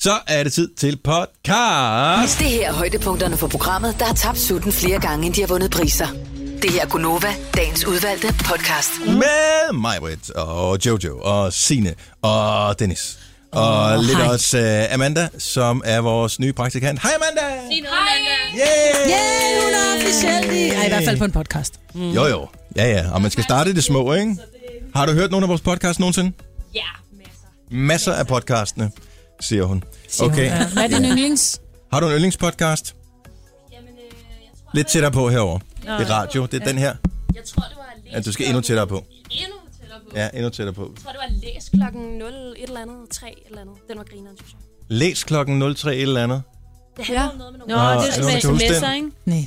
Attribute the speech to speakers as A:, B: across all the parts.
A: Så er det tid til podcast.
B: Hvis det her er højdepunkterne for programmet, der har tabt sutten flere gange, end de har vundet priser. Det her er Gunova, dagens udvalgte podcast.
A: Med mig, Britt, og Jojo, og Sine og Dennis. Og
C: Åh,
A: oh, lidt
C: hej.
A: også uh, Amanda, som er vores nye praktikant. Hej Amanda!
D: Sig noget, Amanda.
A: Yeah!
C: Yay, hun er officielt i... Ej, i hvert fald på en podcast.
A: Mm. Jo jo, ja ja, og man skal starte i det små, ikke? Har du hørt nogen af vores podcast nogensinde?
D: Ja, masser.
A: Masser af podcastene, siger hun.
C: hun,
A: Okay,
C: ja.
E: Hvad er din yndlings?
A: har du en yndlingspodcast?
D: Jamen, øh, jeg, tror,
A: Lidt tættere på herover.
E: Nå,
A: Det er radio, det er den her.
D: jeg tror, det var læs.
A: Ja, du skal endnu tættere på.
D: Endnu tættere på.
A: Ja, endnu tættere på.
D: Jeg tror, det var læs klokken 0, et eller andet, 3 et eller andet. Den var grineren, synes jeg.
A: Læs klokken 03 et eller andet.
D: Det handler ja. om noget med nogle
E: Nå,
A: Nå,
E: det
A: er
E: er
A: det nogen,
E: med
A: der kan huske
E: sms'er,
A: den?
E: ikke?
C: Nej.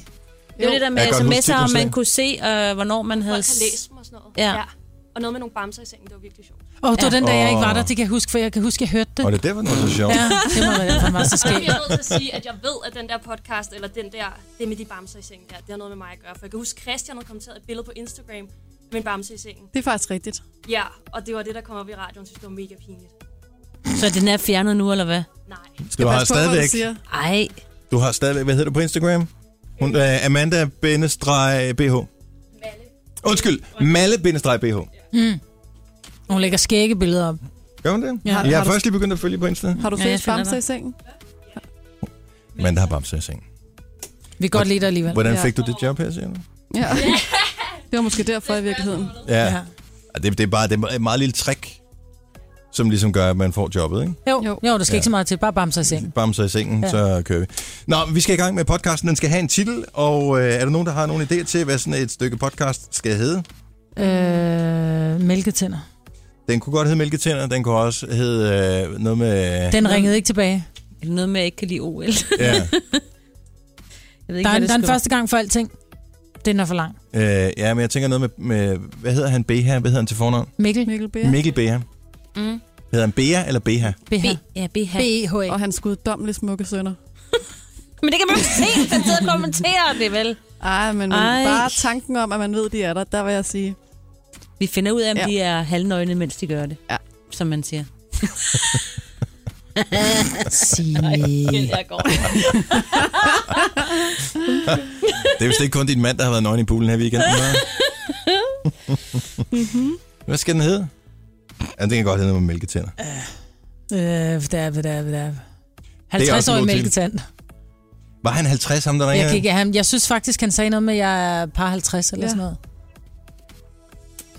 E: Det er det der med
A: Jeg kan godt huske
E: sms'er, om man
A: titlen.
E: kunne se, øh, hvornår man havde...
D: folk har læst dem og sådan noget.
E: Ja.
D: Og noget med nogle bamser i sengen, det var virkelig sjovt.
C: Åh, oh, det var den dag, jeg ikke var
A: Åh.
C: der. Det kan jeg huske, for jeg kan huske, jeg hørte det.
A: Og det er derfor, den var så sjov.
C: Ja, det må være derfor, den var så
D: Jeg
C: skæg.
D: er nødt til at sige, at jeg ved, at den der podcast, eller den der, det med de bamser i sengen der, det har noget med mig at gøre. For jeg kan huske, Christian havde kommenteret et billede på Instagram med en bamse i sengen.
F: Det er faktisk rigtigt.
D: Ja, og det var det, der kom op i radioen, synes det var mega pinligt.
E: Så den er fjernet nu, eller hvad?
D: Nej.
A: Du har stadigvæk,
E: Ej,
A: du har stadigvæk, hvad hedder du på Instagram? Hun, uh, Amanda bindestreg BH. Undskyld, Malle bindestreg BH.
C: Mm. Hun lægger skægge billeder op.
A: Gør hun det?
C: Ja.
A: Jeg har først lige begyndt at følge på Insta.
F: Har du
E: Ja,
F: ja,
E: jeg
F: fælles
E: finder
F: bamser
E: dig.
F: i sengen?
A: Men der har bamser i sengen.
C: Vi kan godt lide dig alligevel.
A: Hvordan
F: Ja.
A: fik du det job her, siger du?
F: Ja. det var måske derfor i virkeligheden.
A: Ja.
C: Ja.
A: ja. Det, det, er bare det er et meget lille trick, som ligesom gør, at man får jobbet, ikke?
C: Jo,
F: Jo.
C: jo der skal
A: Ja.
C: ikke så meget til. Bare bamser i seng.
A: Bamser i sengen, ja. så kører vi. Nå, vi skal i gang med podcasten. Den skal have en titel, og øh, er der nogen, der har nogen idéer til, hvad sådan et stykke podcast skal hedde?
C: Øh, mælketænder.
A: Den kunne godt hedde Mælketænder, den kunne også hedde øh, noget med...
C: Den ringede ikke tilbage.
E: er det noget med, at jeg ikke kan lide OL?
A: Ja,
E: Jeg ved ikke,
C: Der
E: hvad
C: er, en,
E: det
C: der er en
E: skal
C: første gang for alting. Den er for lang.
A: øh, ja, men jeg tænker noget med, med... Hvad hedder han? Beha? Hvad hedder han til fornavn?
C: Mikkel,
F: Mikkel Bea.
A: Ja. Mikkel Beha.
E: Mm.
A: Hedder han Beha eller Beha?
C: BH.
E: være. B, ja, BH.
C: BEHA.
F: Og hans guddommelige smukke sønner.
E: Men det kan man jo ikke se, hvis han sidder og kommenterer det, vel?
C: Ah.
F: Ej, men, men
E: Ej.
F: bare tanken om, at man ved, de er der, der vil jeg sige,
E: Vi finder ud af, om
F: Ja.
E: ja. de er halvnøgne, mens de gør det.
F: Ja.
E: Som man siger.
C: Sige.
E: Jeg går.
A: Det er vist ikke kun din mand, der har været nøgen i poolen her i weekenden. hva'?
C: Mhm.
A: Hvad skal den hedde? Ja, den kan godt hedde noget med mælketænder.
C: Øh, der, der, der. 50
A: også en
C: år i
A: god
C: mælketand.
A: Var han 50, ham der
C: Jeg,
A: ringede?
C: kan ikke, han, jeg synes faktisk, han sagde noget med, at jeg er par 50 eller
F: Ja.
C: sådan noget.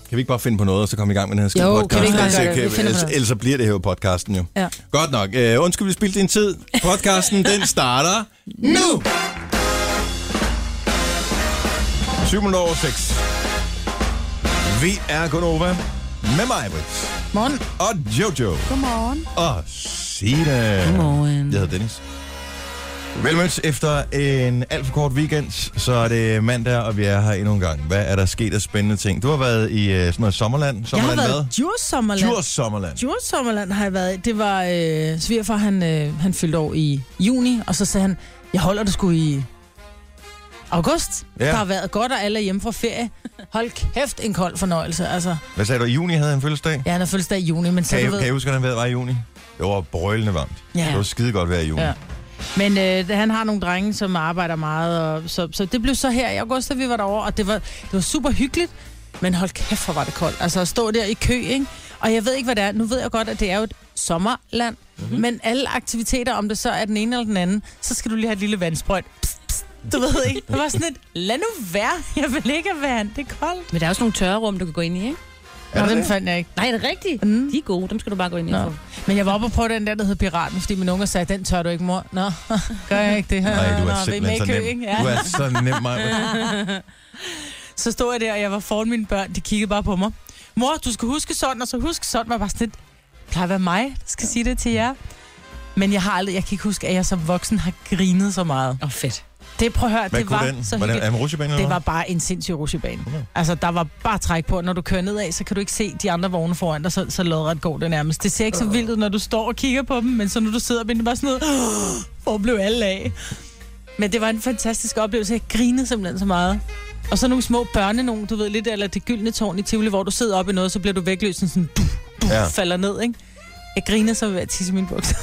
A: Kan vi ikke bare finde på noget, og så komme i gang med den her skide
C: Jo,
A: podcast?
C: kan vi ikke bare
A: Ellers-
C: gøre det? Vi
A: ellers-
C: finder på
A: ellers,
C: noget.
A: ellers så bliver det her jo podcasten jo.
C: Ja.
A: Godt nok. Øh, undskyld, vi spildte din tid. Podcasten, den starter nu! 7 minutter over 6. Vi er Gunova med mig, Brits.
C: Morgen.
A: Og Jojo.
F: godmorgen.
A: Og Sina.
E: Godmorgen.
A: Jeg hedder Dennis. Velmødt efter en alt for kort weekend, så er det mandag, og vi er her endnu en gang. Hvad er der sket af spændende ting? Du har været i øh, sådan noget sommerland.
C: Jeg har
A: Sommerland
C: været i Djurs Sommerland.
A: Djurs Sommerland.
C: Djurs Sommerland har jeg været i. Det var øh, svigerfar, han, øh, han fyldte år i juni, og så sagde han, jeg holder det sgu i august.
A: Ja.
C: Ja. Der har været godt, og alle er hjemme fra ferie. Hold kæft, en kold fornøjelse. Altså,
A: Hvad sagde du? I juni havde han fødselsdag?
C: ja, han har fødselsdag i juni, men så
A: Kan I,
C: du ved...
A: kan I huske, hvordan vejret var i juni? Det var brølende varmt.
C: Ja.
A: Det var skide godt vejr i juni.
C: Ja. Men øh, han har nogle drenge, som arbejder meget, og så, så det blev så her i august, da vi var derovre, og det var, det var super hyggeligt, men hold kæft, hvor var det koldt. Altså at stå der i kø, ikke? Og jeg ved ikke, hvad det er. Nu ved jeg godt, at det er jo et sommerland,
A: Mhm.
C: mm-hmm. men alle aktiviteter, om det så er den ene eller den anden, så skal du lige have et lille vandsprøjt. Pst, pst, du ved ikke. Det var sådan et, lad nu være, jeg vil ikke have vand, det er koldt.
E: Men der er også nogle tørrerum, du kan gå ind i, ikke?
A: Er
C: Nå,
A: der
C: den
A: det?
C: fandt jeg ikke.
E: Nej, er det rigtigt?
C: Mm.
E: De er gode, dem skal du bare gå ind i.
C: Nå.
E: for.
C: Men jeg var oppe og prøve den der, der hed Piraten, fordi min unge sagde, den tør du ikke, mor. Nå, gør jeg ikke det her?
A: Nej, du
C: Nå,
A: er
C: vi med i
A: simpelthen så
C: kø,
A: nem.
C: ikke? Ja.
A: Du er så nem, Maja.
C: så stod jeg der, og jeg var foran mine børn. De kiggede bare på mig. Mor, du skal huske sådan, og så huske sådan. Og jeg var sådan lidt, det plejer at være mig, der skal sige det til jer. Men jeg har aldrig, jeg kan ikke huske, at jeg som voksen har grinet så meget.
E: Åh, oh, fedt.
C: Det, prøv at høre,
A: Hvad
C: det var
A: kunne den?
C: så
A: Var den
C: hyggeligt.
A: er den rutsjebane eller
C: Det var
A: hvad?
C: bare en sindssyg rutsjebane.
A: Okay.
C: Altså, der var bare træk på. Når du kører nedad, så kan du ikke se de andre vogne foran dig, så, så lodret går det nærmest. Det ser ikke så vildt ud, når du står og kigger på dem, men så når du sidder med det er bare sådan noget, "Åh, hvor blev alle af? Men det var en fantastisk oplevelse. Jeg grinede simpelthen så meget. Og så nogle små børne, nogen, du ved lidt, eller det gyldne tårn i Tivoli, hvor du sidder oppe i noget, så bliver du vægtløs, sådan, sådan du, du
A: Ja.
C: ja. falder ned, ikke? Jeg griner så ved at tisse i mine bukser.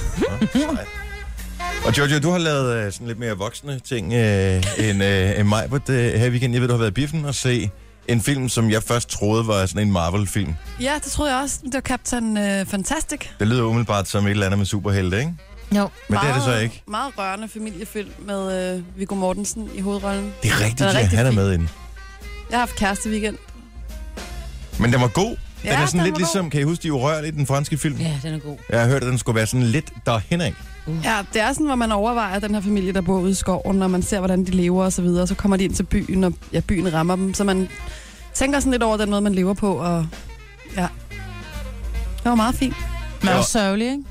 A: Og Jojo, du har lavet øh, sådan lidt mere voksne ting øh, end, øh, end mig på det her weekend. Jeg ved, du har været i biffen og se en film, som jeg først troede var sådan en Marvel-film.
F: Ja, det troede jeg også. Det var Captain øh, Fantastic.
A: Det lyder umiddelbart som et eller andet med superhelte, ikke?
C: Jo.
A: Men det er det så ikke.
F: Meget rørende familiefilm med øh, Viggo Mortensen i hovedrollen.
A: Det er rigtigt,
F: Den er
A: ja,
F: rigtig
A: han er
F: fin.
A: med i den.
F: Jeg har haft kæreste weekend.
A: Men den var god. Den
F: Ja,
A: er sådan
F: den
A: lidt
F: var
A: ligesom, kan I huske de urørlige, den franske film?
E: Ja, den er god.
A: Jeg har hørt, at den skulle være sådan lidt derhen af.
F: Ja, det er sådan, hvor man overvejer den her familie, der bor ude i skoven, og man ser, hvordan de lever og så videre. Så kommer de ind til byen, og ja, byen rammer dem. Så man tænker sådan lidt over den måde, man lever på, og ja. Det var meget fint.
C: Men
A: Jo.
C: også sørgelig, ikke?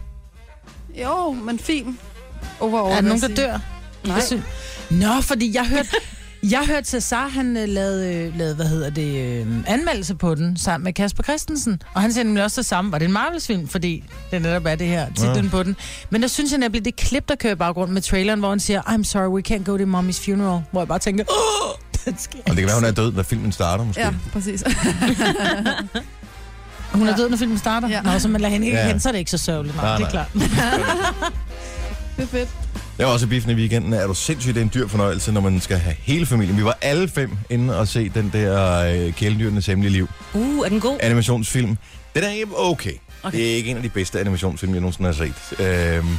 F: Jo, men fint. Overall,
C: Er der
F: vil
C: nogen,
F: jeg
C: der
F: sige.
C: dør? Nej. Nå, fordi jeg hørte, jeg hørte Cesar, han øh, lavede, øh, lavede, hvad hedder det, øh, anmeldelse på den, sammen med Kasper Christensen. Og han siger nemlig også det samme. Var det en Marvels-film? Fordi det netop er det her titlen
A: Ja.
C: ja. på den. Men der synes jeg nemlig, det klip, der kører i baggrunden med traileren, hvor han siger, I'm sorry, we can't go to mommy's funeral. Hvor jeg bare tænker, åh, den skal
A: Og det kan være, hun er død, når filmen starter måske.
F: Ja, præcis.
C: hun er død, når filmen starter.
F: Ja.
C: Ja. Nå, så man lader hende ikke
A: Ja.
C: ja. hen, så er det ikke så sørgeligt.
A: Nej,
C: Nej, nej, det er
A: nej.
C: klart.
F: det er fedt.
A: Jeg var også i biffen i weekenden. Er du sindssygt, det er en dyr fornøjelse, når man skal have hele familien. Vi var alle fem inde og se den der øh, kæledyrenes hemmelige liv.
E: Uh, er den god?
A: animationsfilm. Den er ikke okay. okay. Det er ikke en af de bedste animationsfilm, jeg nogensinde har set. Øhm,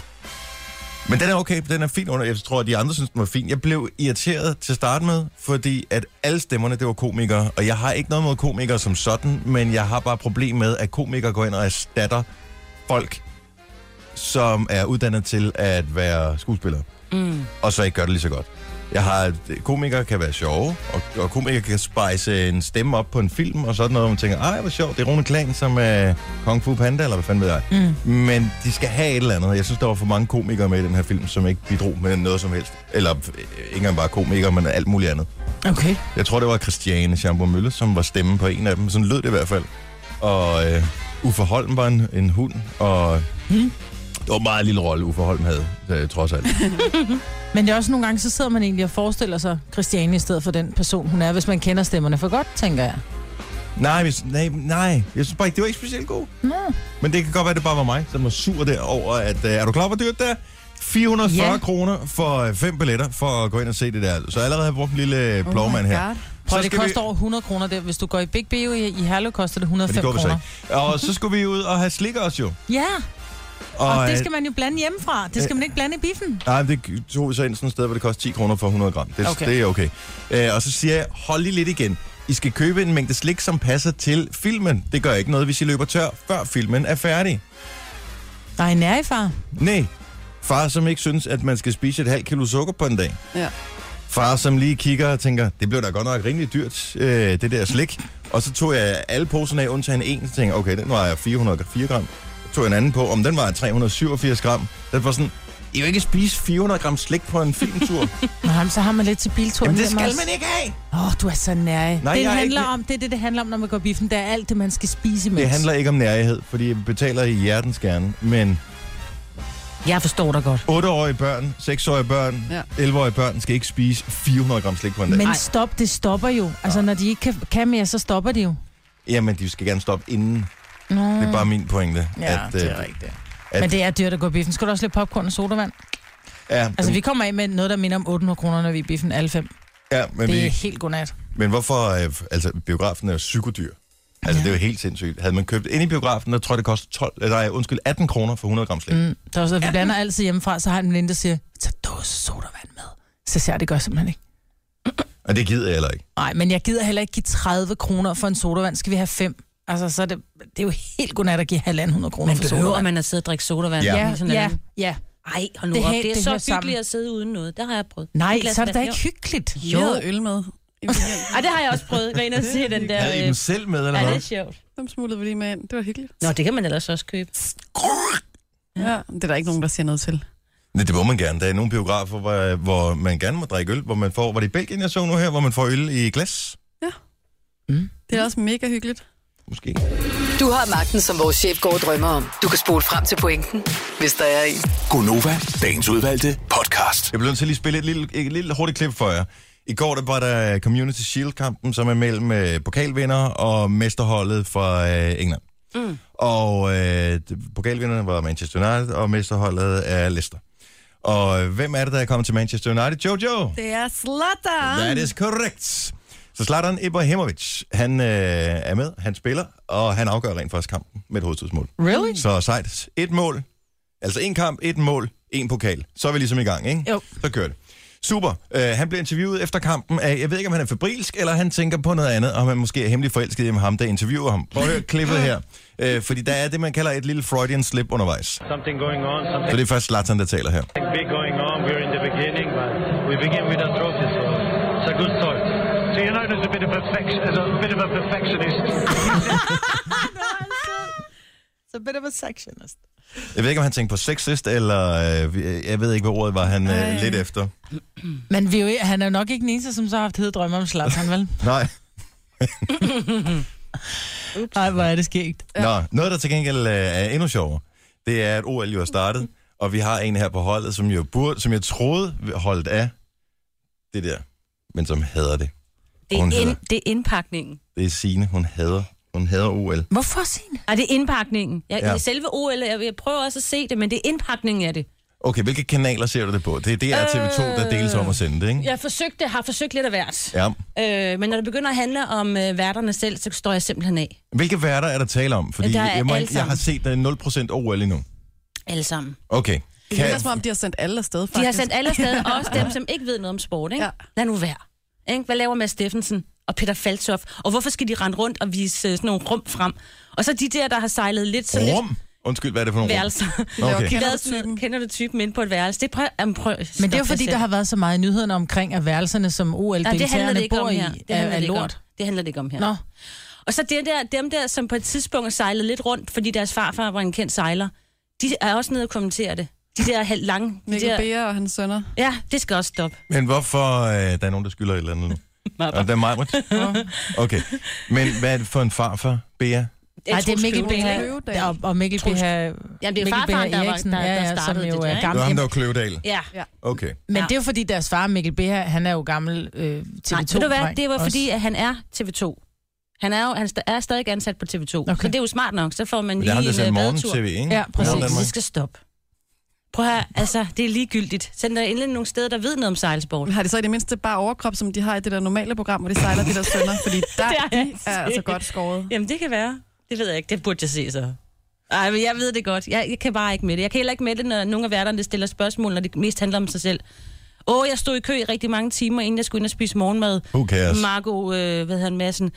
A: men den er okay, den er fin under. Jeg tror, at de andre synes, den var fin. Jeg blev irriteret til at starte med, fordi at alle stemmerne, det var komikere. Og jeg har ikke noget mod komikere som sådan, men jeg har bare problem med, at komikere går ind og erstatter folk, som er uddannet til at være skuespillere
E: Mm.
A: og så ikke gør det lige så godt. Jeg har, komikere kan være sjove, og, og komikere kan spice en stemme op på en film, og sådan noget, og man tænker, ej, hvor sjovt, det er Rune Klan som er Kung Fu Panda, eller hvad fanden ved jeg. Mm. Men de skal have et eller andet. Jeg synes, der var for mange komikere med i den her film, som ikke bidrog med noget som helst. Eller øh, ikke engang bare komikere, men alt muligt andet.
C: Okay.
A: Jeg tror, det var Christiane Schamburg Mølle, som var stemmen på en af dem. Sådan lød det i hvert fald. Og øh, Uffe Holm var en, en hund, og hmm. det var en meget lille rolle, Uffe Holm havde, øh, trods alt.
C: Men det er også nogle gange, så sidder man egentlig og forestiller sig Christiane i stedet for den person, hun er, hvis man kender stemmerne for godt, tænker jeg.
A: Nej, hvis, nej, nej. Jeg synes bare ikke, det var ikke specielt god.
C: Nå.
A: Men det kan godt være, det bare var mig, som var sur derover, at øh, er du klar, hvor dyrt det er? 440
C: Ja.
A: kroner for øh, fem billetter for at gå ind og se det der. Så jeg allerede har jeg brugt en lille øh, blåmand her.
F: Oh God.
C: Oh
A: Så
C: Prøv, det
A: skal
C: koster
A: vi-
C: over 100 kroner der. Hvis du går i Big Bio i, i Herlev, koster det
A: Men
C: 105
A: det går vi så
C: kroner.
A: ikke. Og så skulle vi ud og have slik også jo.
C: Ja, og, og det
A: øh,
C: skal man jo blande hjemmefra. Det skal man ikke blande i biffen.
A: Nej, det tog vi så ind sådan et sted, hvor det koster 10 kroner for 100 gram. Det, okay.
C: Okay.
A: det er okay. Øh, og så siger jeg, hold lige lidt igen. I skal købe en mængde slik, som passer til filmen. Det gør ikke noget, hvis I løber tør, før filmen er færdig.
C: Nej, nej, far.
A: Nej. Far, som ikke synes, at man skal spise et halvt kilo sukker på en dag.
F: Ja.
A: Far, som lige kigger og tænker, det blev da godt nok rimelig dyrt, øh, det der slik. Og så tog jeg alle poserne af, undtagen en, så tænkte jeg, okay, den vejer 404 gram. Så tog jeg en anden på, om den vejer 387 gram. Det var sådan, I vil ikke spise 400 gram slik på en filmtur.
C: Nå, jamen, så har man lidt til bilturen.
A: Jamen, det
C: hjem
A: skal
C: også.
A: man ikke have.
C: Åh, oh, du er så nær.
A: Nej,
C: det,
A: jeg er
C: handler
A: ikke-
C: om, det er det, det handler om, når man går i biffen. Det er alt det, man skal spise imens.
A: Det handler ikke om nærighed, fordi jeg betaler i hjertens gerne, men
C: Jeg forstår dig godt.
A: 8-årige børn, 6-årige børn,
F: Ja.
A: 11-årige børn skal ikke spise 400 gram slik på en dag.
C: Men stop, det stopper jo. Altså, når de ikke kan, kan mere, så stopper de jo.
A: Jamen, de skal gerne stoppe inden.
C: Nå.
A: Det er bare min pointe.
C: Ja,
A: at,
C: det
A: øh,
C: er rigtigt.
A: at-
C: At... Men det er dyrt at gå i biffen. Skal du også lidt popcorn og sodavand?
A: Ja,
C: Altså, vi kommer af med noget, der minder om 800 kroner, når vi er i biffen alle fem.
A: ja men,
C: Det er
A: vi,
C: helt godnat.
A: men hvorfor... Øh, altså, biografen er jo psykodyr. Altså, ja. det
C: Ja.
A: er jo helt sindssygt. Havde man købt ind i biografen, der tror jeg, det koster 12, eller, nej, undskyld, 18 kroner for 100 gram slik. Mm.
C: Mm, der er også, at vi blander altid hjemmefra, så har jeg en veninde, der siger, tag dåse sodavand med. Så siger jeg, det gør jeg simpelthen ikke.
A: Og det gider jeg heller ikke.
C: Nej, men jeg gider heller ikke give 30 kroner for en sodavand. Skal vi have fem? Altså, så er det, det er jo helt godnat at give 1.500 kroner
E: Man
C: for
E: behøver
C: sodavand.
E: man at sidde og drikke sodavand?
A: Ja.
C: Ja,
E: Sådan
C: ja,
E: er det.
C: ja.
E: Ej, hold nu
C: Det
E: det op.
C: hæ-
E: Det er
C: det
E: så
C: hører
E: hyggeligt
C: sammen.
E: at sidde uden noget. Der har jeg prøvet. Et
C: Nej,
E: glas
C: så er det da
E: vand,
C: ikke hyggeligt.
F: Jo. Jeg havde øl med. i weekenden.
E: Ej, det har jeg også prøvet. Gå ind og se den der...
A: Havde I
E: øh,
A: dem selv med, eller
E: Ej, det
A: hvad?
E: er sjovt.
F: Dem smuglede vi lige med ind. Det var hyggeligt.
E: Nå, det kan man ellers også købe.
F: Ja, det er der ikke nogen, der siger noget til.
A: Nej, det må man gerne. Der er nogle biografer, hvor, hvor man gerne må drikke øl, hvor man får... Var det i Belgien, jeg så nu her, hvor man får øl i glas?
F: Det er også mega hyggeligt.
A: Måske.
B: Du har magten, som vores chef går og drømmer om. Du kan spole frem til pointen, hvis der er en.
G: Gonova, dagens udvalgte podcast.
A: Jeg bliver nødt til lige at spille et lille, et lille hurtigt klip for jer. I går der var der Community Shield-kampen, som er mellem øh, pokalvinder og mesterholdet fra øh, England.
E: Mm.
A: Og øh, d- pokalvinderne var Manchester United, og mesterholdet er Leicester. Og øh, hvem er det, der er kommet til Manchester United? Jojo!
F: Det er Zlatan.
A: That is correct. Så Zlatan Ibrahimovic, han øh, er med, han spiller, og han afgør rent faktisk kampen med et hovedtidsmål.
C: Really?
A: Så sejt. Et mål. Altså en kamp, et mål, en pokal. Så er vi ligesom i gang, ikke?
C: Jo.
A: Så kører det. Super. Uh, han blev interviewet efter kampen af, jeg ved ikke, om han er febrilsk, eller han tænker på noget andet, og man måske er hemmelig forelsket i ham, der interviewer ham. Prøv at høre klippet her. Uh, fordi der er det, man kalder et lille Freudian slip undervejs. Så
H: Something going on, something
A: det er først Zlatan, der taler her.
H: big going on. We're in the beginning, but we begin with a trophy, so it's a good start. So you know, there's a bit of perfection, there's a bit of a perfectionist.
C: It's a bit of a sectionist.
A: Jeg ved ikke, om han tænkte på sexist, eller uh, jeg ved ikke, hvad ordet var han uh, lidt efter.
C: Men vi, er jo ikke- han er jo nok ikke den eneste, som så har haft hede drømme om Zlatan, vel?
A: Nej.
C: Nej, hvor er det skægt.
A: Nå, noget, der til gengæld øh, er endnu sjovere, det er, at OL jo er startet, og vi har en her på holdet, som, jo burde, som jeg troede holdt af det der, men som hader det.
E: Det
A: Hun
E: er,
A: hedder-
E: ind, det er indpakningen.
A: Det er Signe, hun hader. Hun hader OL.
C: Hvorfor, Signe?
E: Ej, det er indpakningen. Jeg,
A: Ja.
E: ja. Selve OL, jeg, jeg prøver også at se det, men det er indpakningen af det.
A: Okay, hvilke kanaler ser du det på? Det er DR TV2, der deles om at sende det, ikke?
E: Jeg forsøgte, har forsøgt lidt af hvert.
A: Ja.
E: Øh, men når det begynder at handle om øh, værterne selv, så står jeg simpelthen af.
A: Hvilke værter er der tale om? Fordi
E: Der er
A: jeg, må,
E: alle
A: ikke- jeg har set øh, 0% OL endnu.
E: Alle sammen.
A: Okay.
F: Det
A: Kan,
F: er som om, de har sendt alle afsted, faktisk.
E: De har sendt alle afsted, også dem, som ikke ved noget om sport. Ikke?
F: Ja.
E: Ja. Lad nu være. Ikke? Hvad laver Mads Steffensen og Peter Falthoff? Og hvorfor skal de rende rundt og vise øh, sådan nogle rum frem? Og så de der, der har sejlet lidt så lidt
A: rum? Undskyld, hvad er det for nogle rum?
E: værelser.
A: Okay.
E: De
F: Kender
E: lavede
F: du
E: sådan
F: typen?
E: noget, kender du typen inde på et værelse? Det prøv, jamen prøv,
C: Men det er jo fordi, der har været så meget i nyhederne omkring, at værelserne, som
E: Nej, det handler det
C: OL-deltagerne
E: ikke
C: bor
E: om
C: i,
E: her. Det
C: er,
F: øh,
E: handler
C: er
E: det ikke om.
C: lort.
E: Det handler det ikke om her.
C: Nå,
E: Og så det der, dem der, som på et tidspunkt sejlede lidt rundt, fordi deres farfar var en kendt sejler, de er også nede og kommentere det. De der halv- lange... De
F: Mikkel
E: der,
F: Beer og hans sønner.
E: ja, det skal også stoppe.
A: Men hvorfor... Øh, der er nogen, der skylder et eller andet nu. Og der er mig, Okay. Men hvad er det for en farfar, Bea?
C: Nej, det er Mikkel
F: Kløvedal.
C: Beha, og, og Mikkel
E: Troels-
C: Beha,
E: Jamen, det er
C: Mikkel
E: farfaren,
C: Beha
E: der, var,
C: Eriksen,
E: der, der,
C: ja, ja,
E: startede
C: som
E: det
C: jo er
E: der, ikke?
A: Det var ham,
C: gammel.
A: der var Kløvedal.
E: Ja.
A: Okay.
C: Men
E: Ja.
C: det er jo fordi, deres far, Mikkel Beha, han er jo gammel øh, tv 2
E: Nej, ved du hvad? Det var fordi, at han er TV2. Han er jo han sta- er stadig ansat på TV2. Okay.
C: Okay.
E: Så det er jo smart nok. Så får man
A: Men
E: lige
A: det er ham, der
E: en
A: sendte
E: øh,
A: morgen-tv, ikke?
C: Ja, præcis.
A: Godmorgen,
E: Det
A: Danmark.
E: skal stoppe. Prøv at høre, altså, det er ligegyldigt. Send dig endelig nogle steder, der ved noget om sejlsport.
F: Har de så i det mindste bare overkrop, som de har i det der normale program, hvor de sejler de der sønner? Fordi der
E: Det har jeg
F: de
E: ikke
F: er
E: set.
F: altså godt skåret.
E: Jamen, det kan være. Det ved jeg ikke. Det burde jeg se så. Ej, men jeg ved det godt. Jeg, jeg kan bare ikke med det. Jeg kan heller ikke med det, når nogle af værterne stiller spørgsmål, når det mest handler om sig selv. Åh, jeg stod i kø i rigtig mange timer, inden jeg skulle ind og spise morgenmad.
A: Who cares?
E: Marco, øh, hvad hedder han, Madsen.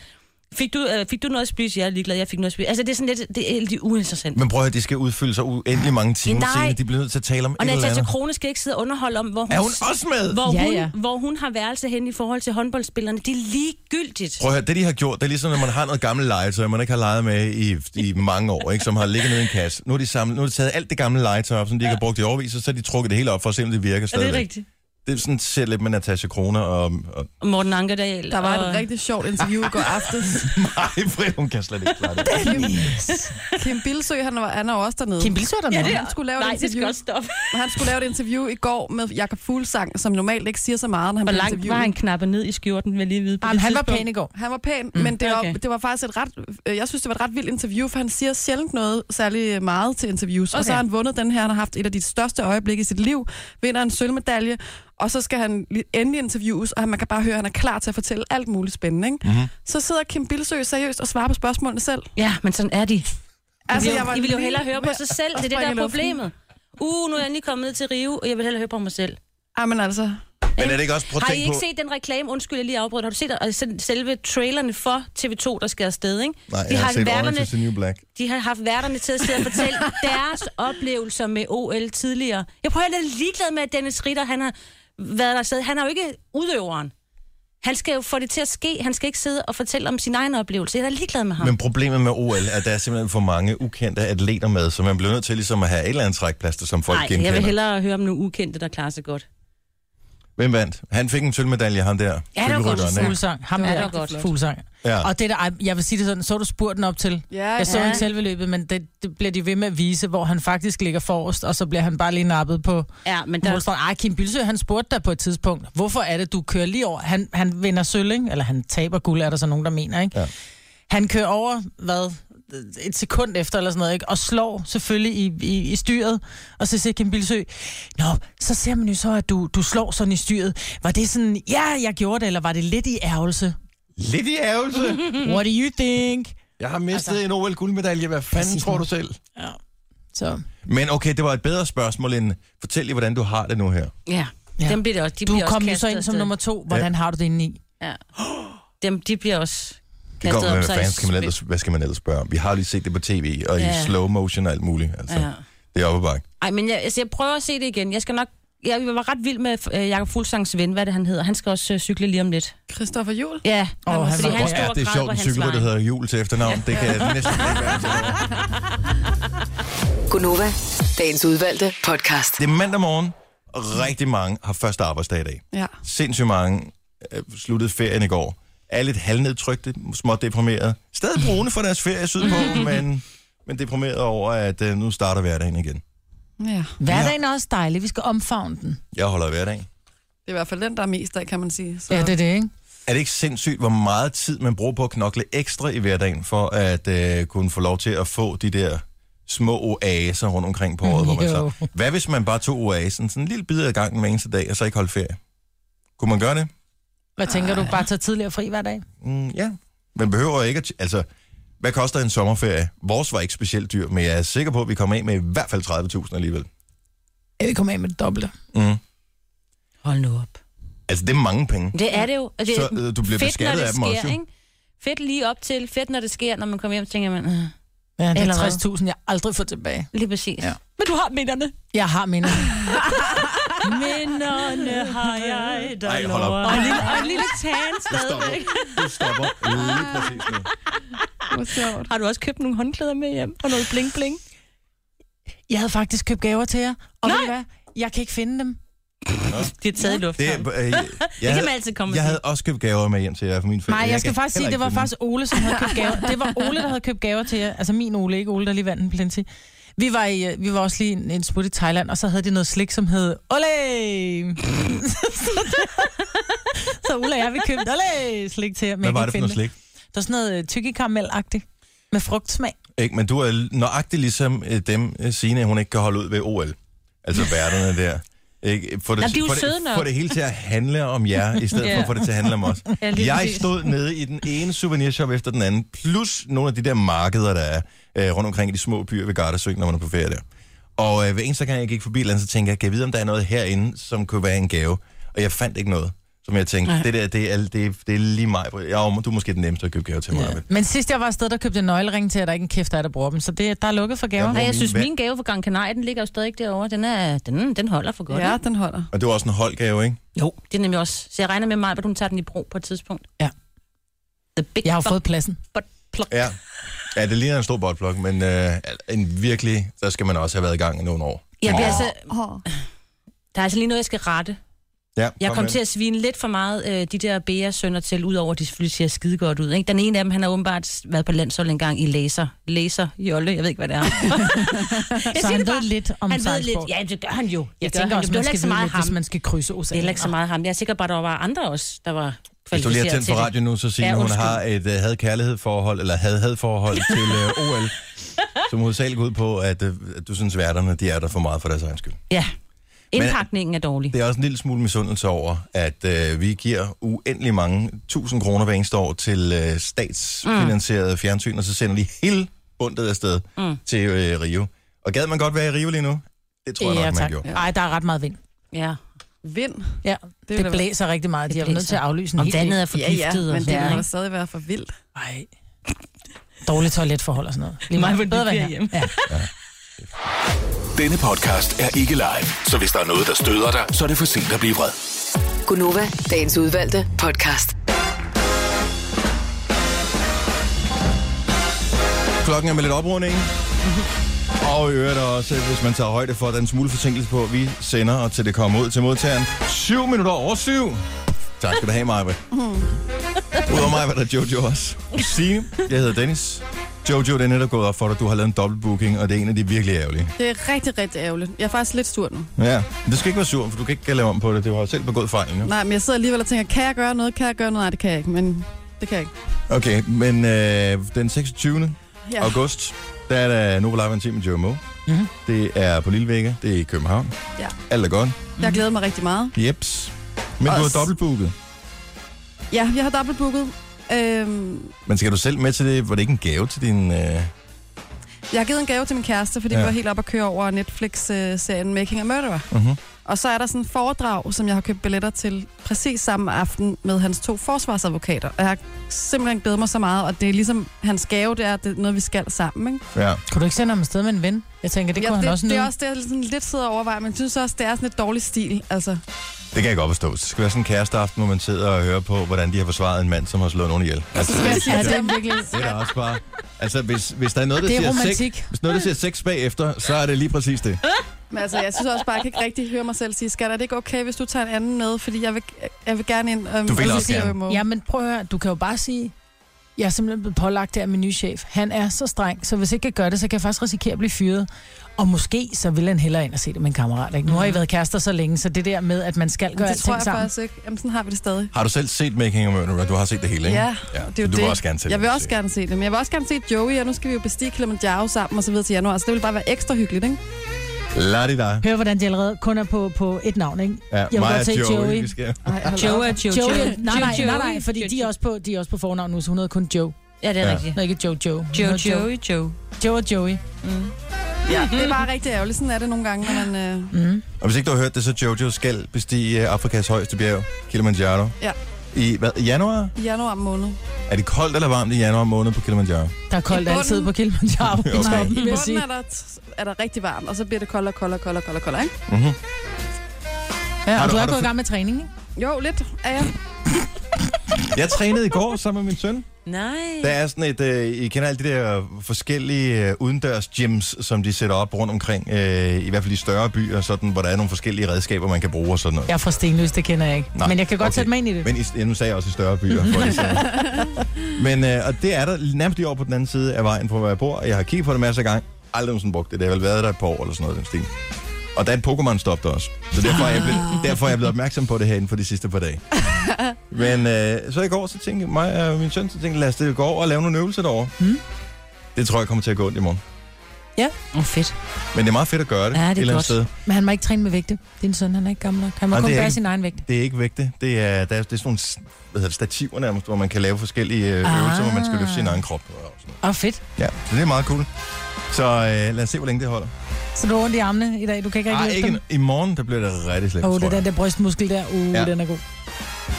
E: Fik du, øh, fik du noget at spise? Jeg er ligeglad, jeg fik noget at spise. Altså, det er sådan lidt, det er lidt uinteressant.
A: Men prøv at høre, de skal udfylde sig uendelig mange timer
E: Nej.
A: senere. De bliver nødt til at tale om
E: Og
A: et eller
E: Natasha
A: andet.
E: Krone skal ikke sidde og underholde om, hvor hun,
A: Er hun også med?
E: hvor,
C: Ja,
E: hun,
C: ja.
E: hvor hun har værelse hen i forhold til håndboldspillerne. Det er ligegyldigt.
A: Prøv at høre, det de har gjort, det er ligesom, når man har noget gammelt legetøj, man ikke har leget med i, i mange år, ikke, som har ligget nede i en kasse. Nu har de, samlet, nu har de taget alt det gamle legetøj op, som de ikke har brugt i overvis, og så har de trukket det hele op for at se, om det virker
E: er det
A: stadigvæk.
E: rigtigt?
A: Det er sådan ser lidt med Natasha Kroner og, og
E: Og Morten Ankerdal.
F: Der var et
E: og...
F: rigtig sjovt interview i går aftes.
A: Nej, Fred, hun kan slet ikke klare det.
F: Kim Bilsø, han, var, han er jo også dernede.
C: Kim Bilsø er dernede.
F: Han skulle lave
E: Nej,
F: et
E: det skal
F: interview.
E: også stoppe.
F: Han skulle lave et interview i går med Jakob Fuglsang, som normalt ikke siger så meget, når han
E: Hvor
F: bliver
E: langt
F: interviewet.
E: var han knappet ned i skjorten, vil jeg lige vide på
C: Jamen,
E: det
C: han var
E: tidspunkt?
C: pæn i går.
F: Han var pæn, mm, men det var, okay.
E: okay.
F: det var faktisk et ret... øh, Jeg synes, det var et ret vildt interview, for han siger sjældent noget særlig øh, meget til interviews. Okay. Og så har han vundet den her, han har haft et af de største øjeblikke i sit liv, vinder en sølvmedalje, og så skal han li- endelig interviews, og man kan bare høre, at han er klar til at fortælle alt muligt spændende. Ikke? Mm-hmm. Så sidder Kim Bilsø seriøst og svarer på spørgsmålene selv.
E: Ja, men sådan er de. Altså,
F: jeg var
E: I vil jo
F: lige
E: hellere høre på
F: ved
E: sig selv.
F: at
E: Det er det, der
F: springe i
E: er
F: luften.
E: problemet. Uh, nu er jeg lige kommet ned til Rio, og jeg vil hellere høre på mig selv.
F: Jamen altså,
A: Men er det ikke også, prøv at
E: Har I
A: tænke
E: ikke
A: på...
E: set den reklame? Undskyld, jeg lige afbryder. Har du set øh, selv- selve trailerne for TV2, der skal afsted, ikke?
A: Nej,
E: de,
A: jeg
E: har
A: har set Orange
E: værterne,
A: is the New Black.
E: de har haft værterne til at sidde og fortælle deres oplevelser med OL tidligere. Jeg prøver at være lidt ligeglad med, at Dennis Ritter, han har været der sted. Han er jo ikke udøveren. Han skal jo få det til at ske. Han skal ikke sidde og fortælle om sin egen oplevelse. Jeg er da ligeglad med ham.
A: Men problemet med OL er, at der er simpelthen for mange ukendte atleter med, så man bliver nødt til ligesom at have et eller andet trækplaster, som folk
E: Nej,
A: genkender.
E: jeg vil hellere høre om nogle ukendte, der klarer sig godt.
A: Hvem vandt? Han fik en sølvmedalje, ham der.
E: var godt,
A: cykelrytteren, ikke?
C: Fuglsang. Ham
E: Det var
C: der,
E: rigtig flot.
C: Fuglsang.
A: Ja.
C: Og det der, ej, jeg vil sige det sådan, så du spurten op til?
F: Ja,
C: jeg så
E: ja.
C: ikke selve løbet, men det, det, bliver de ved med at vise, hvor han faktisk ligger forrest, og så bliver han bare lige nappet på
E: Ja, men der,
C: målstregen. Ej, Kim Bilsø, han spurgte dig på et tidspunkt, hvorfor er det, du kører lige over? Han, han vinder sølv, ikke? Eller han taber guld, er der så nogen, der mener, ikke?
A: Ja.
C: Han kører over, hvad, et sekund efter eller sådan noget, ikke? og slår selvfølgelig i, i, i styret, og så siger Kim Bilsø, Nå, så ser man jo så, at du, du slår sådan i styret. Var det sådan, ja, jeg gjorde det, eller var det lidt i ærgelse?
A: Lidt i ærgelse.
C: What do you think?
A: Jeg har mistet altså, en OL-guldmedalje. Hvad fanden tror du selv?
C: Ja. Så
A: Men okay, det var et bedre spørgsmål end, fortæl lige, hvordan du har det nu her.
E: Ja.
C: Ja.
E: ja. Dem bliver det også, de
C: du
E: bliver
C: kom
E: også
C: jo så
E: kastet
C: ind som
E: afsted.
C: nummer to. Hvordan har du det inde i?
E: Ja. Dem, de bliver også
A: Det går
E: kastet
A: med,
E: op
A: hvad,
E: sig i
A: fanden skal man
E: spil.
A: ellers, hvad skal man ellers spørge om? Vi har lige set det på tv, og ja.
E: Ja.
A: i slow motion og alt muligt. Altså, ja.
E: Ja.
A: Det er oppe bakke.
E: Ej, men jeg, altså, jeg prøver at se det igen. Jeg skal nok... Jeg var ret vild med øh, Jakob Fuglsangs ven, hvad er det han hedder. Han skal også øh, cykle lige om lidt.
F: Christoffer Juhl?
E: Ja,
C: Åh, han
E: fordi
C: var-
A: Hvor
E: han stod
A: er
E: og
A: det
E: græd
A: sjovt,
E: på
A: en
E: hans
A: cykelrytter
E: vej.
A: hedder Jul til efternavn. Det kan jeg næsten ikke være. til.
B: Gunova, dagens udvalgte podcast.
A: Det er mandag morgen, og rigtig mange har første arbejdsdag i dag.
F: Ja.
A: Sindssygt mange øh, sluttede ferien i går. Er lidt halvnedtrykte, småt deprimerede. Stadig brune for deres ferie sydpå, men, men deprimerede over, at øh, nu starter hverdagen igen.
F: ja.
C: Hverdagen er også dejlig. Vi skal omfavne den.
A: Jeg holder af hverdagen.
F: Det er i hvert fald den, der er mest af, kan man sige. Så.
C: Ja, det er det, ikke?
A: Er det ikke sindssygt, hvor meget tid man bruger på at knokle ekstra i hverdagen, for at øh, kunne få lov til at få de der små oaser rundt omkring på året, hvor man
C: Jo.
A: så... Hvad hvis man bare tog oasen, sådan en lille bid af gangen hver eneste dag, og så ikke holdt ferie? Kunne man gøre det?
C: Hvad tænker du? Bare tage tidligere fri hver dag?
A: Mm, ja. Man behøver ikke at... Altså, hvad koster en sommerferie? Vores var ikke specielt dyr, men jeg er sikker på, at vi kommer af med i hvert fald 30.000 alligevel.
C: Ja, vi kommer af med det dobbelte.
A: Mm.
E: Hold nu op.
A: Altså, det er mange penge.
E: Det er det jo. Og Det
A: Så, øh, du bliver
E: fedt,
A: beskattet
E: når det
A: af dem også,
E: sker,
A: jo.
E: Ikke? Fedt lige op til, fedt når det sker, når man kommer hjem, så tænker man, øh,
C: Ja, det
E: Eller
C: er 60.000, jeg aldrig får tilbage.
E: lige præcis.
C: Ja.
E: Ja. Men du har minderne.
C: Jeg har mine.
E: Minderne har jeg, der
A: Ej, hold op. lover.
E: Og en lille, og en lille tan
A: Du stopper.
E: stadigvæk.
A: Du stopper lige præcis nu.
F: Hvor sjovt.
E: Har du også købt nogle håndklæder med hjem? Og noget bling bling?
C: Jeg havde faktisk købt gaver til jer. Og ved I hvad? Jeg kan ikke finde dem.
E: Det er taget i luften.
A: Det,
E: Det,
A: øh, jeg,
E: det kan
A: havde-
E: man altid komme
A: Jeg
E: med.
A: havde også købt gaver med hjem til jer for min ferie.
C: Nej, jeg skal
A: kan
C: faktisk sige,
A: heller
C: det var
A: ikke
C: faktisk Ole, som havde købt gaver. Det var Ole, der havde købt gaver til jer. Altså min Ole, ikke Ole, der lige vandt en plenty. Vi var, i, øh, vi var også lige en, en smut i Thailand, og så havde de noget slik, som hed Ole! så Ole og jeg, vi købte Ole slik til jer, men
A: finde. Hvad var
C: jeg
A: det
C: kan
A: for noget
C: ikke finde det.
A: slik?
C: Det var sådan noget øh, tykkekaramel-agtigt, med frugtsmag.
A: Ikke, men du er nøjagtig ligesom øh, dem, øh, Signe, hun ikke kan holde ud ved OL. Altså værterne der. Ikke? For det,
E: Nå, de er jo
A: for det,
E: søde nok.
A: for det hele til at handle om jer, i stedet yeah. for at få det til at handle om os.
E: Ja, lige
A: jeg
E: præcis.
A: stod nede i den ene souvenirshop efter den anden, plus nogle af de der markeder, der er øh, rundt omkring i de små byer ved Gardasø, når man er på ferie der. Og øh, hver eneste gang, jeg gik forbi et eller andet, så tænkte jeg, kan jeg vide, om der er noget herinde, som kunne være en gave? Og jeg fandt ikke noget, som jeg tænkte, det der, det er, det, er- det er lige mig. Ja, du er måske den nemmeste at købe gave til mig. Ja.
C: Men sidst jeg var afsted, der købte jeg nøgleringen til, at der er ikke en kæft, der, er, der bruger dem. Så det, der er lukket for gaver.
A: Ja,
E: Ej, jeg
A: min
E: synes,
A: ven-
E: min gave fra Gran Canaria, den ligger jo stadig derovre. Den, er, den, den holder for godt.
F: Ja,
E: ikke?
F: den holder.
A: Og det var også en holdgave, ikke?
E: Jo, det er nemlig også. Så jeg regner med mig, at hun tager den i brug på et tidspunkt.
C: Ja.
E: The big
C: Jeg har jo
E: fuck
C: fået pladsen.
E: butt plug.
A: Ja. ja, det ligner en stor botblok, men øh, en virkelig, der skal man også have været i gang i nogle år.
E: Jeg bliver
A: Åh.
E: altså,
F: Oh.
E: der er altså lige noget, jeg skal rette.
A: Ja,
E: Jeg kom
A: med.
E: til at svine lidt for meget øh, de der Bea sønner til, udover at de selvfølgelig ser skide godt ud. Ikke? Den ene af dem, han har åbenbart været på landsholdet en gang i laser. Laser, jolle, jeg ved ikke, hvad det er. jeg
C: Så
E: siger
C: han
E: det
C: ved
E: bare.
C: lidt om
E: han ved lidt.
C: sejlsport.
E: Ja, det gør han jo. Det
C: Jeg
E: gør
C: tænker
E: han
C: også,
E: jo. Det er heller
C: man skal
E: ikke så
C: vide
E: meget
C: lidt,
E: ham.
C: hvis man skal krydse oceaner.
E: Det er heller ikke så meget ham. Jeg er sikker bare, der var andre også, der var
A: Hvis du lige har tændt for
E: kvalificeret til
A: radioen nu, så siger
E: Ja,
A: ja, hun
E: undskyld.
A: har et uh, had-kærlighed-forhold, eller had-had-forhold til uh, OL, som hovedsageligt går ud på, at, uh, at du synes, værterne de er der for meget for deres egen skyld.
E: det. Ja. Indpakningen er dårlig.
A: Det er også en lille smule misundelse over, at øh, vi giver uendelig mange tusind kroner hver eneste år til øh, statsfinansieret mm. fjernsyn, og så sender de hele bundet afsted mm. til øh, Rio. Og gad man godt være i Rio lige nu? Det tror jeg nok,
C: Ja,
A: man
C: tak.
A: gjorde.
C: Ej, der er ret meget vind.
E: Ja.
F: Vind.
C: Ja,
F: Det er
C: det,
F: da-
C: det blæser rigtig meget. De
E: Det
C: er nødt
E: blæser.
C: til at aflyse en
E: Om
C: hel
E: vandet
C: del.
E: er
F: Ja, ja,
E: forgiftet.
F: men det
E: er
F: må da stadig være for vildt.
C: Ej. Dårlige toiletforhold og sådan noget.
E: Mig,
C: Lige meget.
E: hvor de
C: Bedre være
E: bliver
C: her.
E: hjemme.
C: Ja.
G: Denne podcast er ikke live, så hvis der er noget, der støder dig, så er det for sent at blive vred.
B: Gunova, dagens udvalgte podcast.
A: Klokken er med lidt oprunding. Og i øvrigt også, hvis man tager højde for, at der er en smule forsinkelse på, vi sender, og til det kommer ud til modtageren. 7 minutter over syv. Tak skal du have, Maja. Udover mig var der Jojo også. Sige, jeg hedder Dennis. Jojo, det er netop gået op for dig. Du har lavet en dobbeltbooking, og det er en af de virkelig ærgerlige.
F: Det er rigtig, rigtig ærgerligt. Jeg er faktisk lidt sur nu.
A: Ja, men du skal ikke være sur, for du kan ikke lave om på det. Det var jo selv begået fejl nu.
F: Nej, men jeg sidder alligevel og tænker, kan jeg gøre noget? Kan jeg gøre noget? Nej, det kan jeg ikke, men det kan jeg ikke.
A: Okay, men øh, den 26. ja.
F: Ja.
A: august, der er der Nova Live en time med Joe Moe.
C: Mhm.
A: Det er på Lille Vega, det er i København.
F: Ja.
A: Alt er godt.
C: Mhm.
F: Jeg glæder mig rigtig meget.
A: Jeps. Men du
F: Også-
A: har dobbeltbooket.
F: Ja, jeg har dobbeltbooket. Øhm,
A: Men skal du selv med til det? Var det ikke en gave til din... Øh...
F: jeg har givet en gave til min kæreste, fordi ja.
A: Ja.
F: vi var helt op at køre over Netflix-serien Making a Murderer.
A: Mhm.
F: Og så er der sådan en foredrag, som jeg har købt billetter til præcis samme aften med hans to forsvarsadvokater. Og jeg har simpelthen glædet mig så meget, og det er ligesom hans gave, det er, at det er noget, vi skal sammen. Ikke?
A: Ja.
C: Kunne du ikke sende ham afsted med en ven? Jeg tænker, det kunne han
F: det,
C: også
F: det er
C: nyde.
F: også det, jeg sådan lidt sidder og overvejer, men jeg synes også, det er sådan et dårligt stil. Altså,
A: Det kan jeg godt forstå. Det skal være sådan en kæresteaften, hvor man sidder og hører på, hvordan de har forsvaret en mand, som har slået nogen ihjel. Altså,
F: skal jeg sige,
C: Ja,
F: at
C: det
F: det
C: er virkelig...
A: det er da også bare... Altså, hvis, hvis der er noget, der
C: Det er
A: siger
C: romantik.
A: Sex, hvis noget, der siger sex bagefter, så er det lige præcis det.
F: Men altså, jeg synes også bare, jeg kan ikke rigtig høre mig selv sige, skat, er det ikke okay, hvis du tager en anden med? Fordi jeg vil, jeg vil gerne ind. Um,
A: Du vil også gerne.
C: Ja, men prøv at høre, du kan jo bare sige, jeg er simpelthen blevet pålagt af min nye chef. Han er så streng, så hvis ikke jeg gør det, så kan jeg faktisk risikere at blive fyret. Og måske så vil han hellere ind og se det med en kammerat. Ikke? Nu har I været kærester så længe, så det der med, at man skal gøre
F: Det tror
C: alting
F: jeg
C: sammen.
F: faktisk ikke. Jamen, sådan har vi det stadig.
A: Har du selv set Making a Murderer? Du har set det hele, ikke?
F: Ja,
A: ja
F: det er jo
A: så du
F: det.
A: vil også gerne til
F: Jeg
A: det,
F: vil
A: kan
F: også
A: se.
F: gerne se det, men jeg vil også gerne se Joey, og nu skal vi jo bestige Kilimanjaro sammen og så videre til januar, så det vil bare være ekstra hyggeligt, ikke?
A: Lad det dig.
C: Hør, hvordan de allerede kun er på, på et navn, ikke?
A: Ja,
C: vil
A: mig
C: godt
A: og
C: se
A: Joey.
C: Joey.
A: Vi skal...
F: Ej, hold op.
E: Joe er Joe.
C: Joe,
E: Joe.
C: nej, nej,
E: Joe,
C: nej, nej, fordi
E: Joe,
C: de er
E: Joe.
C: også på, de er også på fornavn nu, så hun hedder kun Joe.
E: Ja, det er
A: Ja.
E: rigtigt.
C: Nå, ikke Joe Joe. Hun
E: Joe,
C: hedder
E: Joey, Joe.
C: Joe og Joey.
F: Det er bare rigtig ærgerligt. Sådan er det nogle gange, når man... Øh...
C: Mm.
A: Og hvis ikke du har hørt det, så Jojo skal bestige Afrikas højeste bjerg, Kilimanjaro.
F: Ja.
A: I hvad, i januar?
F: I januar måned.
A: Er det koldt eller varmt i januar måned på Kilimanjaro?
C: Der er koldt
F: I bunden-
C: altid på Kilimanjaro.
A: Okay.
C: i toppen,
F: I
C: vil jeg
F: bunden
C: sige.
F: er der, t- er der rigtig varmt, og så bliver det koldere, koldere, koldere, koldere, koldere, ikke?
A: Mm-hmm.
C: Ja,
A: Har
C: og
A: du-
C: du
A: har
C: er
A: du
C: gået i
A: fået-
C: gang med træning, ikke?
F: Jo, lidt er jeg.
A: Jeg trænede i går sammen med min søn.
E: Nej.
A: Der er sådan et, øh, I kender alle de der forskellige øh, udendørs gyms, som de sætter op rundt omkring, øh, i hvert fald i større byer, sådan, hvor der er nogle forskellige redskaber, man kan bruge og sådan noget.
C: Jeg er fra Stenløs, det kender jeg ikke.
A: Nej,
C: Men jeg kan godt
A: okay.
C: sætte mig ind i det.
A: Men i, ja, nu sagde jeg også i større byer. For det samme. Men øh, og det er der nærmest lige over på den anden side af vejen, fra hvor jeg bor. Jeg har kigget på det masser af gange. Aldrig nogensinde brugt det. Det har vel været der et par år eller sådan noget. i Den stil. Og der er et Pokémon-stop der også. Så derfor er, jeg blevet,
E: Ah.
A: derfor er jeg blevet opmærksom på det herinde for de sidste par dage. Men øh, så i går, så tænkte mig og min søn, så tænkte, lad os det gå over og lave nogle øvelser derovre.
E: Hmm?
C: Mm.
A: Det tror jeg kommer til at gå ondt i morgen.
E: Åh, oh, fedt.
A: Men det er meget fedt at gøre det,
E: Ja, det er
A: et eller andet
E: godt.
A: sted.
C: Men han må ikke træne med vægte. Din søn, han er ikke gammel nok. Han må
A: Nej,
C: kun
A: det er
C: bære
A: ikke-
C: sin egen vægt.
A: Det er ikke vægte. Det er, der er, det er sådan nogle s- hvad hedder det, stativer nærmest, hvor man kan lave forskellige øh,
C: Ah.
A: øvelser, hvor man skal løfte sin egen krop. Og sådan noget.
C: Åh, oh, fedt.
A: Ja, så det er meget cool. Så øh, lad os se, hvor længe det holder.
C: Så du har ondt i armene i dag. Du kan ikke
A: Ej,
C: rigtig
A: ikke
C: løfte
A: en, I morgen, der bliver det rigtig slemt,
C: dem. Åh, oh,
A: tror
C: det der,
A: jeg.
C: der brystmuskel der. Uh,
A: Ja.
C: ja. den er god.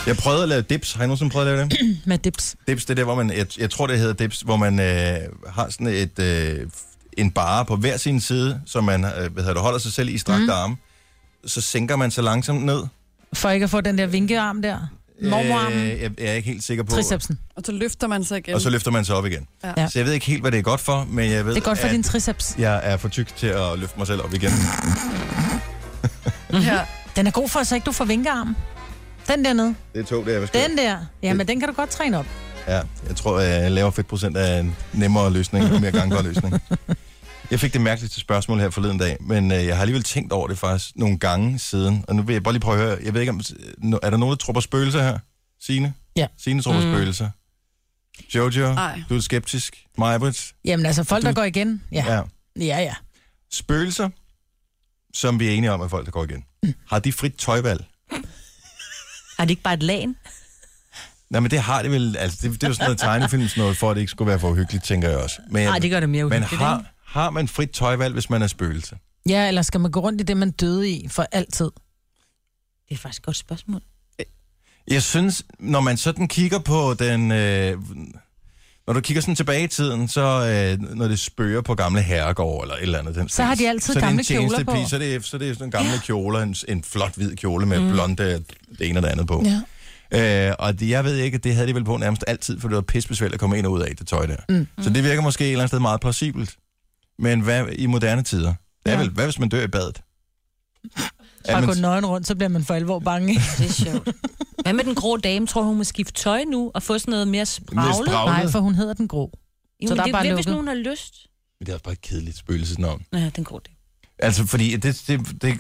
A: Jeg prøvede at lave dips. Har I nogensinde prøvet at lave det?
C: Med dips.
A: dips, det er der, hvor man... Jeg, jeg tror, det hedder dips, hvor man øh, har sådan et, øh, en bare på hver sin side, så man øh, hvad hedder det, holder sig selv i strakte mm.
C: Mm.
A: arme. Så sænker man sig langsomt ned.
C: For ikke at få den der vinkearm der. Mormorarmen.
A: Øh, jeg, jeg er ikke helt sikker på...
C: Tricepsen.
F: Og så løfter man sig igen.
A: Og så løfter man sig op igen. Ja.
F: Øhm. Ja.
A: Så jeg ved ikke helt, hvad det er godt for, men jeg ved,
C: Det er godt for
A: at
C: din triceps.
A: jeg er for tyk til at løfte mig selv op igen. Mhm.
F: ja.
C: Den er god for, så ikke du får vinkearm. Den der nede.
A: Det er to, det er, hvad skal
C: Den der. Ja, men den kan du godt træne op.
A: Ja, jeg tror, jeg laver fedtprocent af en nemmere løsning, en mere gangbar løsning. Jeg fik det mærkeligste spørgsmål her forleden dag, men øh, jeg har alligevel tænkt over det faktisk nogle gange siden. Og nu vil jeg bare lige prøve at høre, jeg ved ikke om, no- er der nogen, der tror på spøgelser her? Signe?
C: Ja.
A: Signe tror på mm. spøgelser. Jojo,
F: Ej.
A: du er skeptisk. Majbrit?
C: Jamen altså, folk,
A: Du-
C: der går igen. Ja, ja, ja. ja.
A: Spøgelser, som vi er enige om, at folk, der går igen. Har de frit tøjvalg?
E: Er det ikke bare et lagen?
A: Nej, men det har de vel, altså det, det er jo sådan noget tegnefilm, sådan noget, for at det ikke skulle være for uhyggeligt, tænker jeg også. Men, jeg-
E: Nej, det gør det mere
A: men
E: uhyggeligt. ikke?
A: har, har man frit tøjvalg, hvis man er spøgelse?
C: Ja, eller skal man gå rundt i det, man døde i for altid?
E: Det er faktisk et godt spørgsmål.
A: Jeg synes, når man sådan kigger på den... Øh, når du kigger sådan tilbage i tiden, så øh, når det spøger på gamle herregård eller et eller andet. Den
C: Så har de altid
A: så er det en
C: gamle kjoler
A: tjenestepige,
C: på.
A: Så er det, så er det sådan gamle kjoler, en, en flot hvid kjole med mm. blonde det ene og det andet på.
C: Ja.
A: Øh, og det, jeg ved ikke, det havde de vel på nærmest altid, for det var pissebesvælt at komme ind og ud af det tøj der. Mm. Så det virker måske et eller andet sted meget plausibelt. Men hvad i moderne tider? Det er ja.
C: Ja.
A: vel, hvad hvis man dør i badet?
C: Bare
A: man-
C: gå nøgen rundt, så bliver man for alvor bange. ikke?
E: Det er sjovt. Hvad med den grå dame? Tror hun må skifte tøj nu og få sådan noget mere spraglet?
A: spraglet.
C: Nej, for hun hedder den grå.
E: Jo,
C: Så
E: men
C: der er
E: det
C: bare
E: hvem, hvis
C: lukket.
E: nogen har lyst.
A: Men det er også bare et kedeligt spøgelsesnavn.
E: Ja, den grå dame.
A: Altså, fordi det, det, det,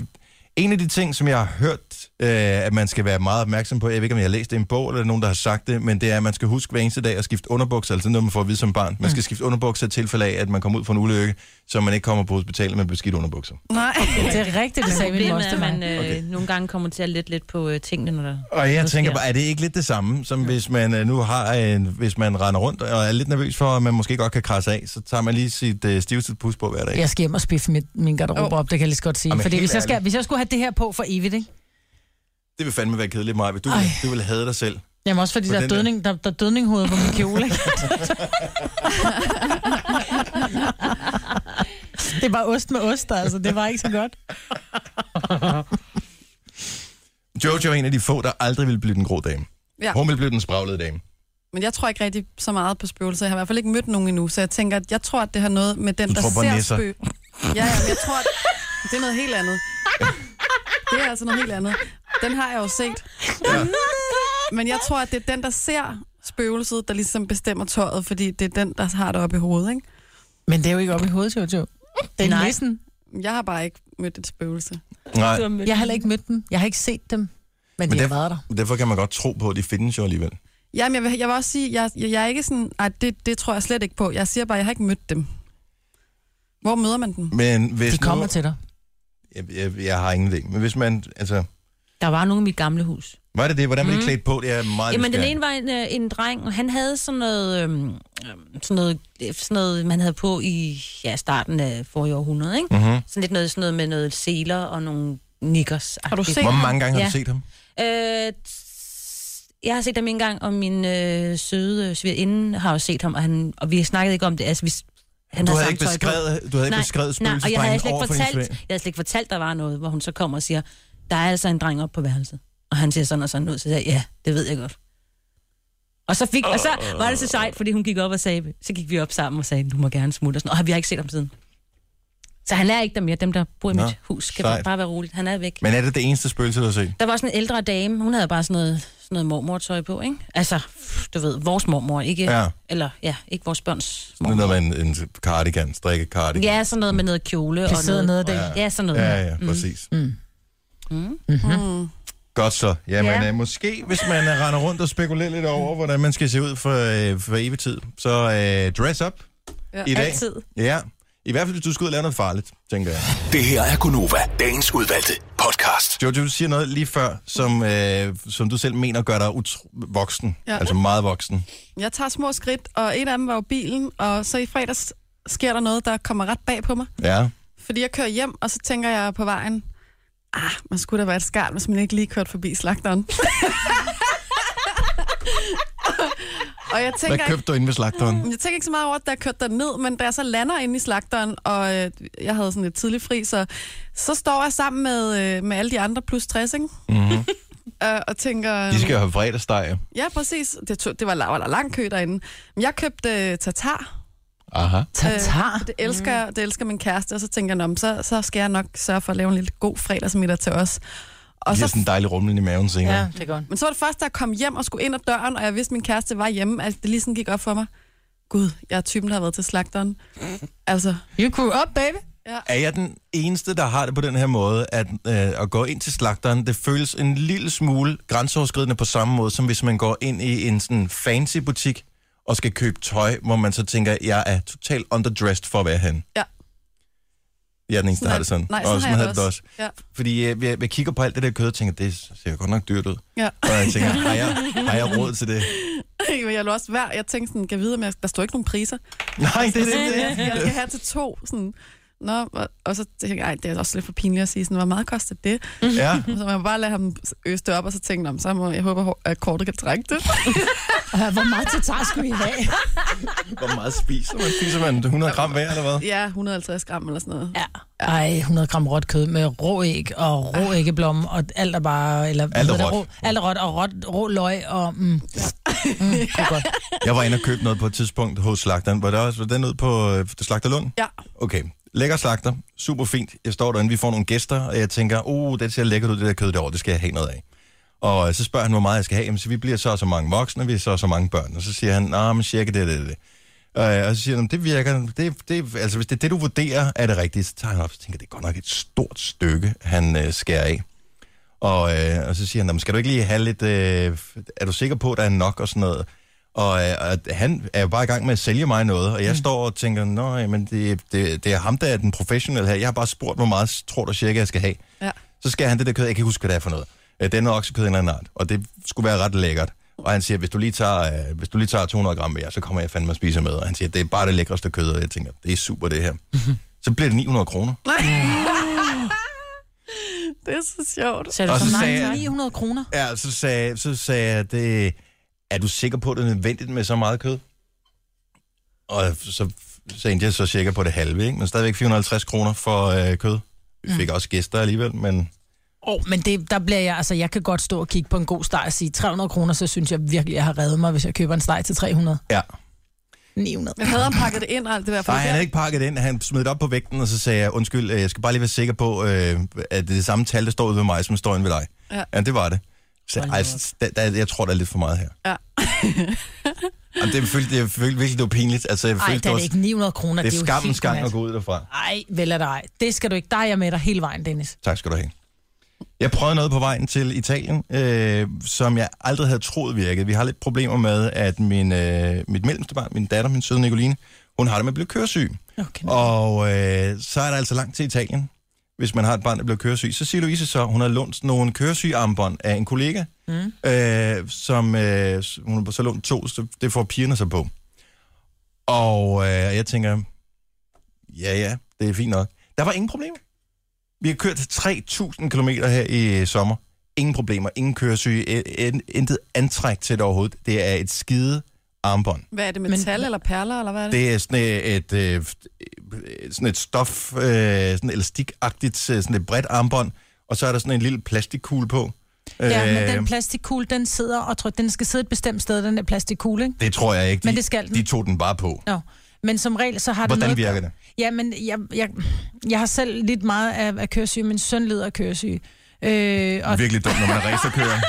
A: En af de ting, som jeg har hørt, øh, at man skal være meget opmærksom på, jeg ved ikke, om jeg har læst det i en bog, eller nogen, der har sagt det, men det er, at man skal huske hver eneste dag at skifte underbukser, altså noget, man får at vide som barn. Man skal skifte underbukser i tilfælde af, at man kommer ud for en ulykke, så man ikke kommer på hospitalet med beskidte underbukser.
F: Nej.
C: Det er rigtigt, det sagde min mor
E: Problemet Altså, er,
C: til
E: at man
C: mig.
E: øh,
A: Okay.
E: okay. nogle gange kommer til at lette lidt på øh, tingene, når der...
A: Og jeg
E: noget
A: tænker
E: sker.
A: bare, er det ikke lidt det samme, som hvis man øh, nu har en, hvis man render rundt og er lidt nervøs for, at man måske godt kan krasse af, så tager man lige sit øh, stiveste pus på hver dag.
C: Jeg skal hjem og spiffe mit, min garderobe op, det kan jeg lige så godt sige.
A: Jamen,
C: Fordi
A: helt
C: hvis jeg, skal,
A: ærligt.
C: hvis jeg skulle have det her på for evigt, ikke?
A: Det vil fandme være kedeligt, Maja. Du,
C: Ej.
A: du vil have dig selv.
C: Jamen også fordi
A: På
C: der er,
A: den der.
C: dødning, der, der er dødninghoved på min kjole, ikke? det var ost med ost, altså. Det var ikke så godt.
A: Jojo er en af de få, der aldrig vil blive den grå dame.
F: Ja.
A: Hun vil blive den spraglede dame.
F: Men jeg tror ikke rigtig så meget på spøgelser. Jeg har i hvert fald ikke mødt nogen endnu, så jeg tænker, at jeg tror, at det har noget med den,
A: Du
F: der
A: tror på
F: ser
A: nisser.
F: spøg. Ja, ja, men jeg tror, at det er noget helt andet. Det er altså noget helt andet. Den har jeg jo set.
A: Ja.
F: Men jeg tror, at det er den, der ser spøgelset, der ligesom bestemmer tøjet, fordi det er den, der har det oppe i hovedet, ikke?
C: Men det er jo ikke oppe i hovedet, Jojo. Det er
E: Nej.
C: næsten.
F: Jeg har bare ikke mødt et spøgelse.
A: Nej,
C: Jeg har heller ikke mødt dem. Jeg har ikke set dem. Men, men de
A: det-
C: har været der.
A: derfor kan man godt tro på, at de findes jo alligevel.
F: Jamen, jeg vil, jeg vil også sige, jeg, jeg, jeg er ikke sådan, nej, det, det tror jeg slet ikke på. Jeg siger bare, jeg har ikke mødt dem. Hvor møder man dem?
A: Men hvis
C: De kommer
A: nu,
C: til dig.
A: Jeg, jeg, jeg, har ingen idé. Men hvis man, altså...
E: Der var nogen i mit gamle hus.
A: Var det det? Hvordan
C: Mhm.
A: man mm. klædt på? Det er meget
E: Jamen, den
A: nysgerrig.
E: ene var en, øh, en dreng, og han havde sådan noget, øhm, øhm, sådan, noget, øh, sådan noget, man havde på i ja, starten af forrige århundrede, ikke?
A: Mhm.
E: Sådan lidt noget, sådan noget med noget seler og nogle nikkers.
F: Har du set-
A: Hvor mange gange har
E: Ja.
A: du set ham?
E: Øh, t- jeg har set ham en gang, og min øh, søde øh, svigerinde har også set ham, og, han, og vi snakkede ikke om det. Altså, vi, s- han
A: Du
E: har
A: havde
E: samme
A: ikke
E: tøj på.
A: beskrevet, du havde ikke beskrevet
E: nej, og jeg havde,
A: spøgelsesdrengen
E: slet ikke
A: over for din
E: fortalt,
A: svag.
E: jeg havde slet ikke fortalt, der var noget, hvor hun så kommer og siger, der er altså en dreng op på værelset. Og han ser sådan og sådan ud, så siger jeg, ja, det ved jeg godt. Og så, fik, og så var det så sejt, fordi hun gik op og sagde, så gik vi op sammen og sagde, du må gerne smutte og sådan noget. Og vi har ikke set ham siden. Så han er ikke der mere. Dem, der bor i
A: Nå,
E: mit hus, kan
A: sejt.
E: bare være roligt. Han er væk.
A: Men er det det eneste spøgelse, du har set?
E: Der var sådan en ældre dame, hun havde bare sådan noget, sådan noget mormortøj på, ikke? Altså, pff, du ved, vores mormor, ikke?
A: Ja.
E: Eller, ja, ikke vores børns
A: Nu
E: mormor.
A: når man en cardigan, strikke cardigan.
E: Ja, sådan noget med noget kjole. og
C: sidder nede
E: noget,
C: der.
E: Ja, sådan noget. Mm.
A: Ja, ja, præcis. Mm. Mm.
C: Mhm.
A: Godt så. Jamen,
E: Ja.
A: ja. øh, måske hvis man øh, render rundt og spekulerer lidt over, hvordan man skal se ud for, øh, for evig tid, så øh, dress up ja, i dag.
E: altid.
A: Ja, i hvert fald hvis du skal ud og lave noget farligt, tænker jeg.
G: Det her er Gunova, dagens udvalgte podcast.
A: Jojo, du siger noget lige før, som, øh, som du selv mener gør dig utro- voksen. Ja.
F: Ja.
A: Altså meget voksen.
F: Jeg tager små skridt, og en af dem var jo bilen, og så i fredags sker der noget, der kommer ret bag på mig.
A: Ja.
F: Fordi jeg kører hjem, og så tænker jeg på vejen, ah, man skulle da være et skarn, hvis man ikke lige kørte forbi slagteren. og jeg
A: Hvad
F: tænker, ikke,
A: købte du inde ved slagteren?
F: jeg tænker ikke så meget over, at jeg kørte ned, men da jeg så lander inde i slagteren, og øh, jeg havde sådan lidt tidlig fri, så, så står jeg sammen med, øh, med alle de andre plus 60, ikke?
A: Mm-hmm.
F: Øh, og tænker...
A: De skal jo have fredagsdej.
F: Ja, præcis. Det, tog, det var, la- var der lang kø derinde. Men jeg købte øh, tatar.
A: Aha.
C: Tatar.
F: Det elsker, mm. det elsker min kæreste, og så tænker jeg, "Nå, men så, så skal jeg nok sørge for at lave en lille god fredagsmiddag til os. Og
A: De har
F: så,
A: sådan en dejlig rumlen i maven senere.
C: Ja,
A: Ja.
C: det er godt.
F: men så var det først, da jeg kom hjem og skulle ind ad døren, og jeg vidste, at min kæreste var hjemme, at det lige sådan gik op for mig. Gud, jeg er typen, der har været til slagteren. Altså,
C: You grew up, baby.
A: Er jeg den eneste, der har det på den her måde, at øh, at gå ind til slagteren, det føles en lille smule grænseoverskridende på samme måde, som hvis man går ind i en sådan fancy butik og skal købe tøj, hvor man så tænker, jeg er totalt underdressed for at være han.
F: Ja.
A: Jeg er den eneste,
F: sådan
A: der har
F: er-
A: det sådan.
F: Nej,
A: og
F: sådan har
A: sådan
F: jeg
A: havde det også.
F: Ja.
A: Fordi øh, jeg, jeg kigger på alt det der kød og tænker, det ser godt nok dyrt ud.
F: Ja.
A: Og jeg tænker, har jeg, har jeg råd til det?
F: Men jeg lå også værd. Jeg tænkte sådan, kan jeg vide, men der står ikke nogen priser.
A: Nej, det er det. det.
F: jeg skal have til to. Sådan. Nå, og, og så tænkte jeg, "Ej, det er også lidt for pinligt at sige, sådan, hvor meget koster det?
A: Ja.
F: Og Så man må bare lade ham øse det op, og så tænke, om så må, jeg håber, hår- at kortet kan trække det.
C: Uh, hvor meget tatar skulle I have?
A: Hvor meget spiser man? Spiser man 100 gram hver, eller hvad?
F: ja, 150 gram eller sådan noget. Ja.
C: Ej, 100 gram råt kød med rå æg og rå æggeblomme og alt er bare... Eller, hvad
A: Ah. Alt er
C: hedder det?
A: råt.
C: Rå, alt er råt og råt, rå løg og... Mm, mm, det er godt.
A: Jeg var inde og købte noget på et tidspunkt hos slagteren. Var, der også, var den ud på øh, Slagterlund?
F: Ja.
A: Okay. Lækker slagter. Super fint. Jeg står derinde, vi får nogle gæster, og jeg tænker, oh, det ser lækkert ud, det der kød derovre, det skal jeg have noget af. Og øh, så spørger han, hvor meget jeg skal have. Jamen, så vi bliver så og så mange voksne, vi er så og så mange børn. Og så siger han, nej, men cirka det, det, det. Øh, og så siger han, det virker, det, det, altså hvis det er det, du vurderer, er det rigtigt, så tager han op og tænker, det er godt nok et stort stykke, han øh, skærer af. Og, øh, og så siger han, "Nå, men skal du ikke lige have lidt, øh, er du sikker på, at der er nok og sådan noget? Og, øh, og han er jo bare i gang med at sælge mig noget, og jeg mm. står og tænker, nå, jamen, det, det, det er ham, der er den professionelle her. Jeg har bare spurgt, hvor meget tror du cirka, jeg skal have.
F: Ja.
A: Så skal han det der kød, jeg kan ikke huske, hvad det er for noget. Øh, Det er noget oksekød af en eller anden art, og det skulle være ret lækkert. Og han siger, hvis du lige tager, øh, hvis du lige tager 200 gram mere, så kommer jeg fandme og spiser med. Og han siger, det er bare det lækreste kød, og jeg tænker, det er super det her. så bliver det 900 kroner.
F: Det er så sjovt.
C: Så er det
A: Og
C: for
A: så sagde
C: mange
A: jeg-
C: 900 kroner.
A: Ja, så sagde, så sagde jeg, det, er du sikker på, at det er nødvendigt med så meget kød? Og så, så endte jeg så cirka på det halve, ikke? men stadigvæk 450 kroner for øh, kød. Vi fik
C: Mm.
A: også gæster alligevel, men
C: Åh, oh, men det, der bliver jeg, altså jeg kan godt stå og kigge på en god steg og sige 300 kroner, så synes jeg virkelig, jeg har reddet mig, hvis jeg køber en steg til 300.
A: ja.
C: 900.
F: Men havde han pakket det ind og alt det der? For
A: Nej,
F: det
A: han
F: der-
A: havde ikke pakket det ind. Han smed det op på vægten, og så sagde jeg, undskyld, øh, jeg skal bare lige være sikker på, øh, at det er det samme tal, der står ude ved mig, som står inde ved dig.
F: Ja.
A: ja det var det. Så, ej, s- der, der, jeg tror, der er lidt for meget her.
F: Ja.
A: Og det følte, jeg følte virkelig, det var pinligt. Altså, jeg
C: Ej,
A: følte,
C: det er det ikke 900 kroner.
A: Det er
C: jo
A: skammens
C: helt
A: gang at
C: godnat.
A: gå ud derfra.
C: Ej, vel er der ej. Det skal du ikke. Der er jeg med dig hele vejen, Dennis.
A: Tak skal du have. Jeg prøvede noget på vejen til Italien, øh, som jeg aldrig havde troet virkede. Vi har lidt problemer med, at min, øh, mit mellemste barn, min datter, min søde Nicoline, hun har det med at blive køresyg.
C: Okay.
A: Og øh, så er der altså langt til Italien, hvis man har et barn, der bliver køresyg. Så siger Louise så, hun har lånt nogle køresygarmbånd af en kollega, mm. øh, som øh, s- hun har så lånt to, så det får pigerne sig på. Og øh, jeg tænker, ja ja, det er fint nok. Der var ingen problemer. Vi har kørt 3.000 km her i øh, sommer. Ingen problemer, ingen køresyge, øh, øh, intet antræk til det overhovedet. Det er et skide armbånd.
F: Hvad er det,
C: Men-
F: metal eller perler, eller hvad er det?
A: Det er sådan et, øh, f- øh, sådan et stof, øh, sådan elastikagtigt, øh, sådan et bredt armbånd, og så er der sådan en lille plastikkugle på.
C: Ja,
A: Øh,
C: men den plastikkugle, den sidder og tror, den skal sidde et bestemt sted, den der plastikkugle, ikke?
A: det tror jeg ikke. De,
C: Men det skal den.
A: De tog den bare på.
C: Nå. Men som regel, så har det
A: Hvordan
C: noget...
A: virker det?
C: Ja, men jeg, jeg, jeg har selv lidt meget af, af køresyge. Min søn lider af køresyge. Øh, og,
A: Virkelig dumt, når man er racerkører.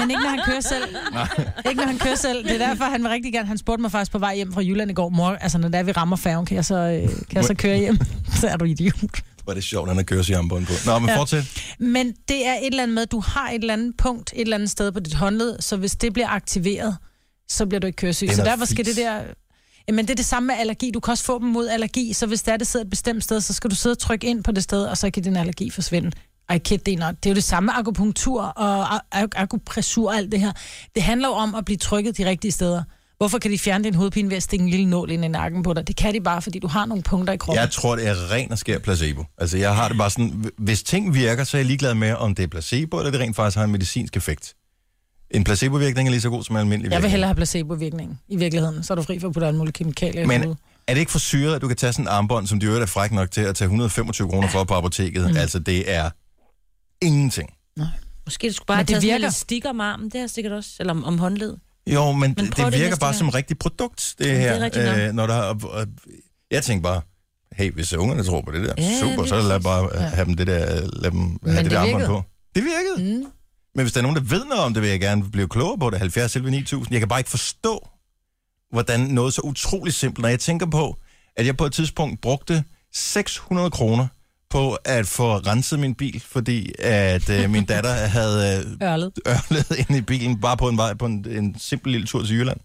C: men ikke når han kører selv.
A: Nej.
C: Ikke når han kører selv. Det er derfor, han vil rigtig gerne... Han spurgte mig faktisk på vej hjem fra Jylland i går mor. Altså, når der vi rammer færgen, kan jeg så, øh, kan jeg så køre hjem? så er du idiot.
A: Hvor er det sjovt, at han har kørt sig armbånd på. Nå, men ja. fortsæt.
C: Men det er et eller andet med, at du har et eller andet punkt et eller andet sted på dit håndled, så hvis det bliver aktiveret, så bliver du ikke køresyg.
A: Det er
C: Så
A: noget
C: derfor skal
A: fis.
C: det der... Jamen, det er det samme med allergi. Du kan også få dem mod allergi, så hvis det er, det sidder et bestemt sted, så skal du sidde og trykke ind på det sted, og så kan din allergi forsvinde. Ej, kid, det er not. Det er jo det samme med akupunktur og a- a- akupressur og alt det her. Det handler jo om at blive trykket de rigtige steder. Hvorfor kan de fjerne din hovedpine ved at stikke en lille nål ind i nakken på dig? Det kan de bare, fordi du har nogle punkter i kroppen.
A: Jeg tror, det er ren og skær placebo. Altså, jeg har det bare sådan, hvis ting virker, så er jeg ligeglad med, om det er placebo, eller det rent faktisk har en medicinsk effekt. En placebovirkning er lige så god som en almindelig
C: Jeg vil
A: virkning.
C: hellere have placebo-virkningen i virkeligheden. Så er du fri for at putte alle mulige kemikalier i
A: Men
C: hovedet.
A: er det ikke for syret, at du kan tage sådan en armbånd, som de i øvrigt er fræk nok til at tage 125 kroner for på apoteket? Mm. Altså, det er ingenting.
E: Måske du skulle bare
C: Men
E: have
C: det
E: taget sådan en
C: virker.
E: lille stik om armen, det er sikkert også. Eller om, om håndled.
A: Jo, men, men det,
E: prøv
A: det
E: det
A: virker
E: næste
A: bare
E: gang.
A: som rigtigt produkt, det
E: det er
A: her.
E: rigtigt nok.
A: øh, når der, er- og, og, jeg tænker bare, hey, hvis ungerne tror på det der,
E: Ja,
A: ja, super,
E: lige
A: så lad
E: præcis.
A: bare øh, have dem det der, lad dem have det,
C: det
A: der armbånd
C: virkede.
A: på. Det virkede. Mm. Men hvis der er nogen, der ved noget om det, vil jeg gerne blive klogere på det. 70 selv 9000. Jeg kan bare ikke forstå, hvordan noget så utroligt simpelt. Når jeg tænker på, at jeg på et tidspunkt brugte 600 kroner på at få renset min bil, fordi at øh, min datter havde øh,
C: Ørlet.
A: ørlet ind i bilen, bare på en vej på en, en simpel lille tur til Jylland.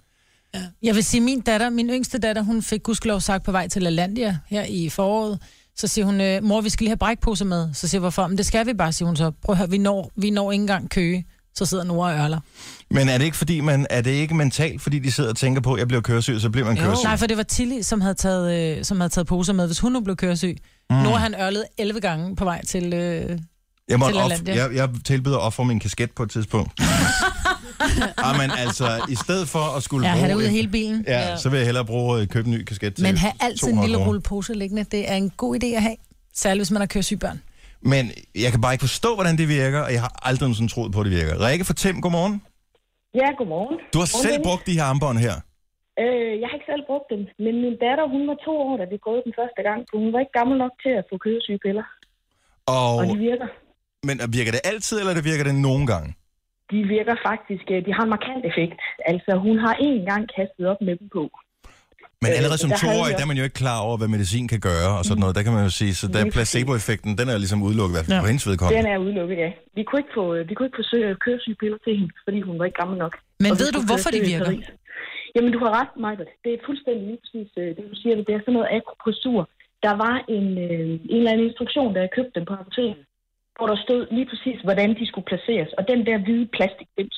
C: Jeg vil sige, min datter, min yngste datter, hun fik gudskelov sagt på vej til Lalandia her i foråret. Så siger hun, øh, mor, vi skal lige have brækposer med. Så siger jeg, hvorfor? Men det skal vi bare, siger hun så. Prøv at høre, vi når, vi når ikke engang køge. Så sidder Nora og ørler.
A: Men er det ikke, fordi man, er det ikke mentalt, fordi de sidder og tænker på, at jeg bliver køresyg, så bliver man køresyg?
C: Nej, for det var Tilly, som havde taget, øh, som havde taget poser med, hvis hun nu blev køresyg. Mm. Nora, han ørlede 11 gange på vej til... Øh,
A: Jeg, måtte
C: Til
A: off,
C: Lalandia.
A: jeg, jeg tilbyder at ofre min kasket på et tidspunkt. Ah, men altså, i stedet for at skulle
C: ja,
A: bruge...
C: han er ude i
A: et-
C: hele bilen.
A: ja, så vil jeg hellere bruge, øh, købe en ny kasket til
C: Men have altid en
A: 200
C: lille
A: kroner.
C: rullepose liggende. Det er en god idé at have. Særligt, hvis man har køresyg børn.
A: Men jeg kan bare ikke forstå, hvordan det virker, og jeg har aldrig sådan troet på, at det virker. Rikke fra Tim, godmorgen.
I: Ja, godmorgen.
A: Du har selv brugt de her armbånd her.
I: Øh, jeg har ikke selv brugt dem, men min datter, hun var to år, da vi gået den første gang, så hun var ikke gammel nok til at få kødesyge piller.
A: Og,
I: Og de virker.
A: men virker det altid, eller det virker det nogle gange?
I: De virker faktisk, øh, de har en markant effekt. Altså, hun har én gang kastet op med dem på.
A: Men
J: Øh,
A: allerede som
J: der havde vi
A: toårig,
J: også-
A: der er man jo ikke klar over, hvad medicin kan gøre og sådan noget. Der kan man jo sige, så der
J: Lige
A: placeboeffekten, den er ligesom udelukket, i hvert fald på hendes
J: Den
A: vedkommende.
J: er udelukket, ja. Vi kunne ikke få, øh, vi kunne ikke få sø- køresygepiller til hende, fordi hun var ikke gammel nok.
C: Men
J: Og vi
C: ved du,
J: skulle
C: hvorfor
J: køre
C: de
J: til
C: virker?
J: Paris. Jamen, du har ret, Michael. Det er fuldstændig lige præcis øh, det, du siger. Det er sådan noget akropressur. Der var en, øh, en eller anden instruktion, da jeg købte den på apoteket, hvor der stod lige præcis, hvordan de skulle placeres. Og den der hvide plastikdims,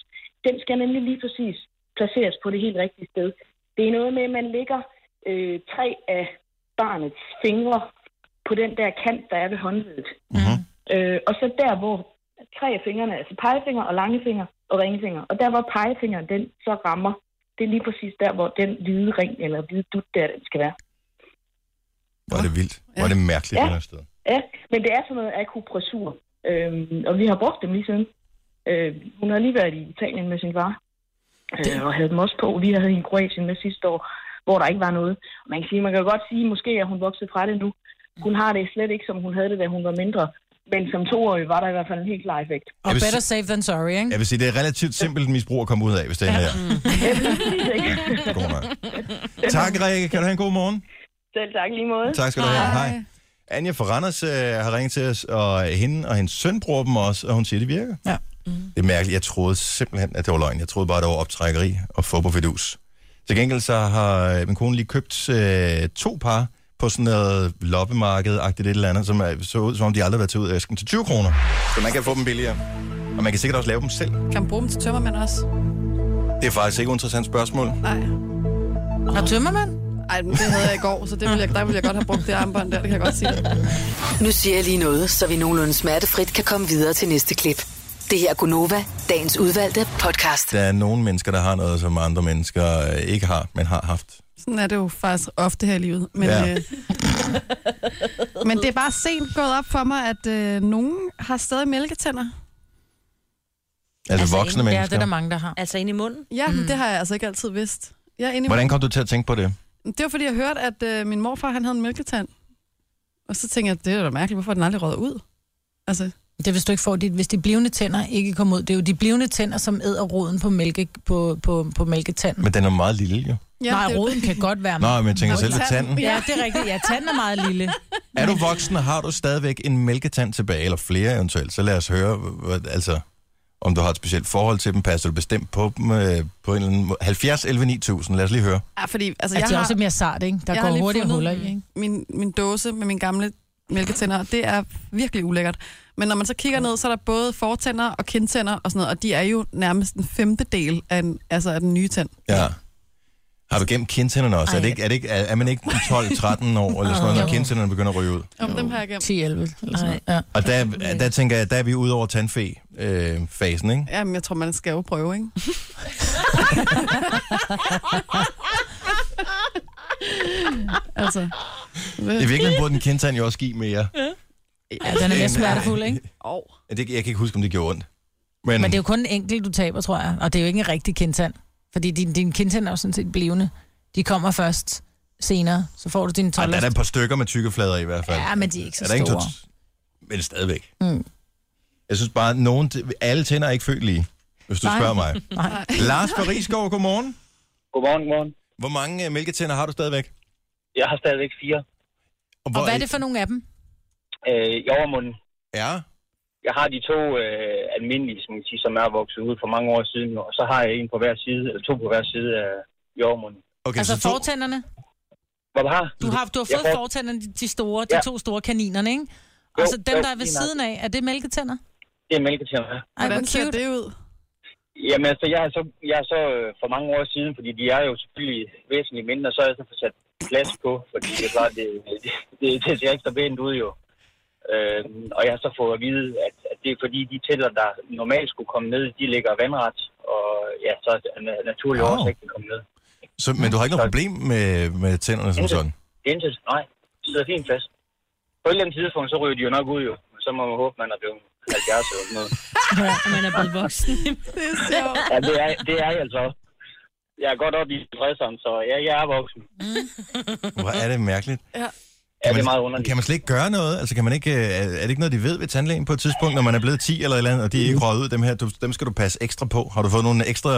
J: den skal nemlig lige præcis placeres på det helt rigtige sted. Det er noget med, at man lægger øh, tre af barnets fingre på den der kant, der er ved håndledet.
C: Mhm.
A: Mm-hmm.
J: Øh, og så der, hvor tre af fingrene, altså pegefinger og langefinger og ringfinger, og der, hvor pegefingeren den så rammer, det er lige præcis der, hvor den hvide ring eller hvide dut der, den skal være.
A: Var det vildt? Var det mærkeligt,
J: Ja.
A: det her sted?
J: Ja, men det er sådan noget akupressur, øhm, og vi har brugt dem lige siden. Øh, hun har lige været i Italien med sin far, øh, og havde dem også på. Vi havde hende i Kroatien med sidste år, hvor der ikke var noget. Man kan, sige, man kan godt sige, måske er hun vokset fra det nu. Hun har det slet ikke, som hun havde det, da hun var mindre. Men som toårig var der i hvert fald en helt klar effekt.
C: Og
A: Jeg vil
C: better
A: si-
C: safe than sorry, ikke?
A: Jeg vil sige, det er et relativt simpelt misbrug at komme ud af, hvis det er her.
J: Mm.
A: God nok. Tak, Rikke. Kan du have en god morgen?
J: Selv tak lige måde.
A: Tak skal du have. Hej. Anja fra Randers øh, har ringet til os, og hende og hendes søn bruger dem også, og hun siger, det virker.
C: Ja.
A: Det er mærkeligt. Jeg troede simpelthen, at det var løgn. Jeg troede bare, det var optrækkeri og fup og fedus. Til gengæld så har øh, min kone lige købt øh, to par på sådan noget loppemarked-agtigt et eller andet, som er, så ud, som om de aldrig har været til ud af æsken til 20 kroner. Så man kan få dem billigere. Og man kan sikkert også lave dem selv.
F: Kan man bruge dem til tømmermænd også?
A: Det er faktisk ikke et interessant spørgsmål.
F: Nej.
C: Har tømmermand?
F: Ej, men det havde jeg i går, så det ville jeg, der ville jeg godt have brugt det armbånd der, det kan jeg godt sige.
B: Nu siger jeg lige noget, så vi nogenlunde smertefrit kan komme videre til næste klip. Det her er Gunova, dagens udvalgte podcast.
A: Der er nogle mennesker, der har noget, som andre mennesker øh, ikke har, men har haft.
F: Sådan er det jo faktisk ofte her i livet. Men,
A: Ja. Altså,
F: ja. øh, men det er bare sent gået op for mig, at øh, nogen har stadig mælketænder.
A: Altså, altså voksne
F: inde- ja,
A: mennesker.
F: det er der
C: mange, der har.
E: Altså ind i munden?
F: Ja, mm. det har jeg altså ikke altid vidst. Jeg er inde i
A: Hvordan kom du til at tænke på det?
F: Det var, fordi jeg hørte, at øh, min morfar han havde en mælketand. Og så tænkte jeg, det er da mærkeligt, hvorfor er den aldrig røget ud? Altså,
C: Det er, hvis du ikke får dit, hvis de blivende tænder ikke kommer ud. Det er jo de blivende tænder, som æder roden på, mælke, på, på, på mælketanden.
A: Men den er meget lille, jo.
C: Ja, Nej,
F: det er jo-
C: roden kan godt være
A: Nå, men jeg tænker
C: Nå,
A: selv i tanden.
C: Ja, det er rigtigt. Ja, tanden er meget lille.
A: Er du voksen, og har du stadigvæk en mælketand tilbage, eller flere eventuelt, så lad os høre, hvad- altså, om du har et specielt forhold til dem. Passer du bestemt på dem øh, på en eller anden måde? 70, 11, 9000, lad os lige høre.
F: ja, fordi, altså,
C: At
F: jeg
C: de er
F: har,
C: også mere sart, ikke? Der
F: jeg
C: går
F: har lige
C: hurtigere
F: fundet
C: huller i, ikke?
F: Min, min dåse med mine gamle mælketænder, og det er virkelig ulækkert. Men når man så kigger ned, så er der både fortænder og kindtænder og sådan noget, og de er jo nærmest en femtedel af, en, altså af den nye tand.
A: Ja. Har du gemt kindtænderne også? Er, det
F: Ej.
A: ikke, er, det ikke, er, er man ikke 12-13 år, eller sådan noget, når
C: Jo.
A: kindtænderne begynder at ryge ud?
F: Om dem har jeg gemt.
C: 10-11. Eller sådan noget. Ja.
A: Og der, der tænker jeg, der er vi ude over tandfæ-fasen, ikke?
F: Jamen, jeg tror, man skal jo prøve, ikke? altså,
A: I virkeligheden burde en kindtand jo også give mere.
C: ja, den er mere
A: Men-
C: smertefuld, ikke?
F: oh.
A: Ja, Det, jeg kan ikke huske, om det gjorde ondt. Men,
C: Men det er jo kun en enkelt, du taber, tror jeg. Og det er jo ikke en rigtig kindtand. Fordi din, din kindtand er jo sådan set blivende. De kommer først senere, så får du din
A: Ej, der er
C: 12.
A: der et par stykker med tykke flader i hvert fald.
C: Ja, men de er ikke så
A: er der ikke
C: store.
A: tot- Men stadigvæk.
C: Mm.
A: Jeg synes bare, nogen, alle tænder er ikke født lige, hvis du Nej. spørger mig.
C: Nej.
A: Lars fra Rigsgaard, godmorgen.
K: Godmorgen, godmorgen.
A: Hvor mange øh, mælketænder har du stadigvæk?
K: Jeg har stadigvæk fire.
C: Og hvad er det for nogle af dem?
K: Øh, I overmunden.
A: Ja.
K: Jeg har de to øh, almindelige, som, man siger, som er vokset ud for mange år siden, og så har jeg en på hver side, eller to på hver side af i overmunden.
A: Okay,
C: Altså fortænderne?
K: Hvad du har?
C: Du har, du har
K: Jeg
C: fået
K: får-
C: fortænderne, de, de store, de
K: Ja.
C: to store kaninerne, ikke?
K: Jo,
C: Og så dem,
K: jo,
C: der er ved
K: lige nok.
C: siden af, er det mælketænder?
K: Det er mælketænder. ja.
C: Ej, hvor
F: Hvordan ser
C: cute.
F: det ud?
K: Jamen altså, jeg har så, jeg er så øh, for mange år siden, fordi de er jo selvfølgelig væsentligt mindre, så har jeg så fået sat plads på, fordi det er klart, det, det, det, det ser ikke så pænt ud jo. Øh, og jeg har så fået at vide, at, at det er fordi, de tæller, der normalt skulle komme ned, de ligger vandret, og ja, så er na- naturlig
A: Wow.
K: wow. årsag, de komme ned.
A: Så, men du har ikke noget problem med, med tænderne som sådan?
K: Intet, nej. Det sidder fint fast. På et eller andet tidspunkt, så ryger de jo nok ud jo. Men Så må man håbe, man er blevet 70 eller sådan noget.
E: Og man er blevet voksen.
F: Det er sjovt.
K: Ja, det er, det er jeg altså også. Jeg er godt oppe i 60'erne, så jeg, jeg er voksen.
C: Mm.
A: Hvor er det mærkeligt.
F: Ja.
K: Ja, det er meget underligt.
A: Kan man slet ikke gøre noget? Altså, kan man ikke, øh, er er det ikke noget, de ved ved tandlægen på et tidspunkt, når man er blevet 10 eller et eller andet, og de er ikke røget ud, dem her, du, dem skal du passe ekstra på. Har du fået nogle ekstra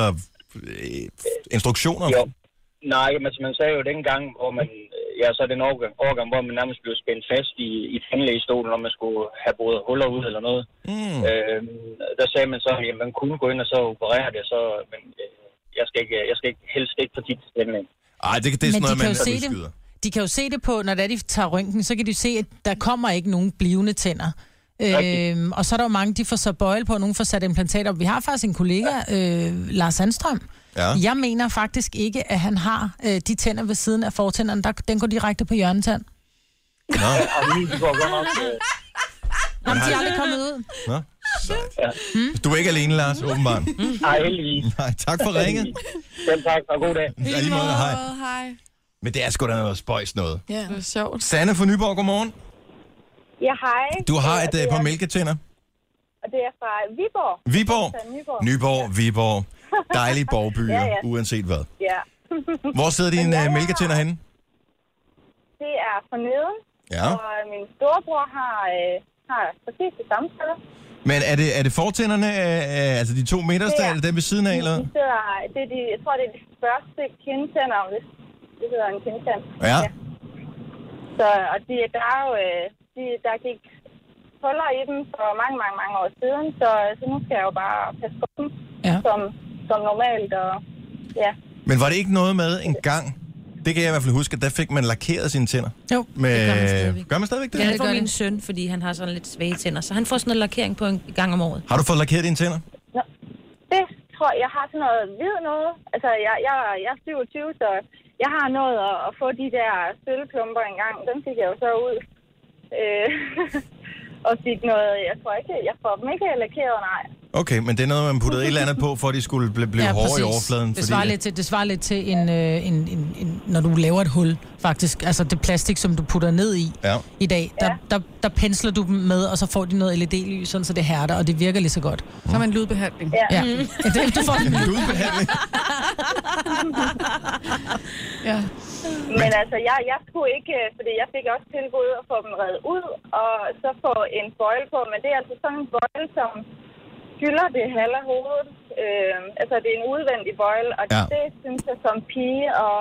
A: øh, instruktioner?
K: Jo. Nej, men altså, man sagde jo dengang, hvor man, ja, så den årgang, årgang hvor man nærmest blev spændt fast i, i tandlægestolen, når man skulle have boret huller ud eller noget.
A: Mm.
K: Øh, der sagde man så, at man kunne gå ind og så operere det, så, men øh, jeg skal, ikke, jeg skal ikke, helst ikke for tit til tandlægen.
A: Ej, det, det er sådan
C: Men de
A: noget,
C: kan
A: man
C: jo se
A: udskyder.
C: det. De kan jo se det på, når det er, de tager røntgen, så kan de se, at der kommer ikke nogen blivende tænder.
K: Rigtigt.
C: Øhm, og så er der jo mange, de får så bøjle på, og nogen får sat implantater op. Vi har faktisk en kollega, øh, Lars Sandstrøm.
A: Ja.
C: Jeg mener faktisk ikke, at han har øh, de tænder ved siden af fortænderne. Der, den går direkte på hjørnetand.
A: Nå.
K: Og mine, de går godt nok... Øh,
C: Jamen, de er aldrig kommet ud.
A: Nå, sejt. Hmm? Du er ikke alene, Lars, åbenbart.
K: Nej, heldigvis.
A: Nej, tak for ringet.
K: Selv tak, og god dag.
A: Ja, lige måde, hej.
F: hej.
A: Men det er sgu da noget spøjs noget.
F: Ja, det er sjovt.
A: Sanne fra Nyborg, godmorgen.
L: Ja, hej.
A: Du har
L: Øh, og
A: et
L: det
A: øh, par
L: er-
A: mælketænder.
L: Og det er fra Viborg.
A: Viborg,
L: Altså, Nyborg.
A: Nyborg, Viborg. Dejlige borgbyer,
L: Ja, ja.
A: uanset hvad.
L: Ja.
A: Hvor sidder dine øh, mælketænder henne?
L: Det er fra neden.
A: Ja.
L: Og min storebror har, øh, har præcis det samme sted.
A: Men er det, er det fortænderne, øh, øh, altså de to midterste,
L: Det er-
A: eller dem ved siden af, eller?
L: De sidder, det er de, jeg tror, det er de første kindtænder, om det, det hedder en kindtand.
A: Ja.
L: Så, og de, der, er jo, øh, de, der gik huller i dem for mange, mange, mange år siden, så, så nu skal jeg jo bare passe på dem
C: ja.
L: som, som normalt. Og, ja.
A: Men var det ikke noget med en gang? Det kan jeg i hvert fald huske, at der fik man lakeret sine tænder.
C: Jo,
A: Med...
M: det gør man stadigvæk.
A: Gør man stadigvæk det?
M: Ja, det får min søn, fordi han har sådan lidt svage tænder, så han får sådan noget lakering på en gang om året.
A: Har du fået lakeret dine tænder?
L: Det tror jeg, jeg har sådan noget hvid noget. Altså, jeg, jeg, jeg er 27, så jeg har nået at, at få de der sølvklumper engang. Dem fik jeg jo så ud. Øh, og fik noget, jeg tror ikke, jeg får dem ikke lakeret, nej.
A: Okay, men det er noget, man puttede et eller andet på, for at de skulle blive, blive ja, hårde i overfladen.
C: Det svarer, lidt til, det svarer lidt til, en, øh, en, en, en, når du laver et hul, faktisk. Altså det plastik, som du putter ned i
A: Ja.
C: i dag, der, der, der pensler du dem med, og så får de noget LED-lys, sådan, så det hærder, og det virker lige så godt.
F: Som en lydbehandling.
L: Ja.
C: ja.
F: Mm.
C: ja det, du får
A: En lydbehandling?
F: ja.
L: Men altså, jeg, jeg kunne ikke, øh, fordi jeg fik også tilbud at få dem reddet ud, og så få en bøjle på. Men det er altså sådan en bøjle, som fylder det halve af hovedet. Øh, altså, det er en udvendig bøjle, og
A: Ja.
L: ja. det synes jeg som pige og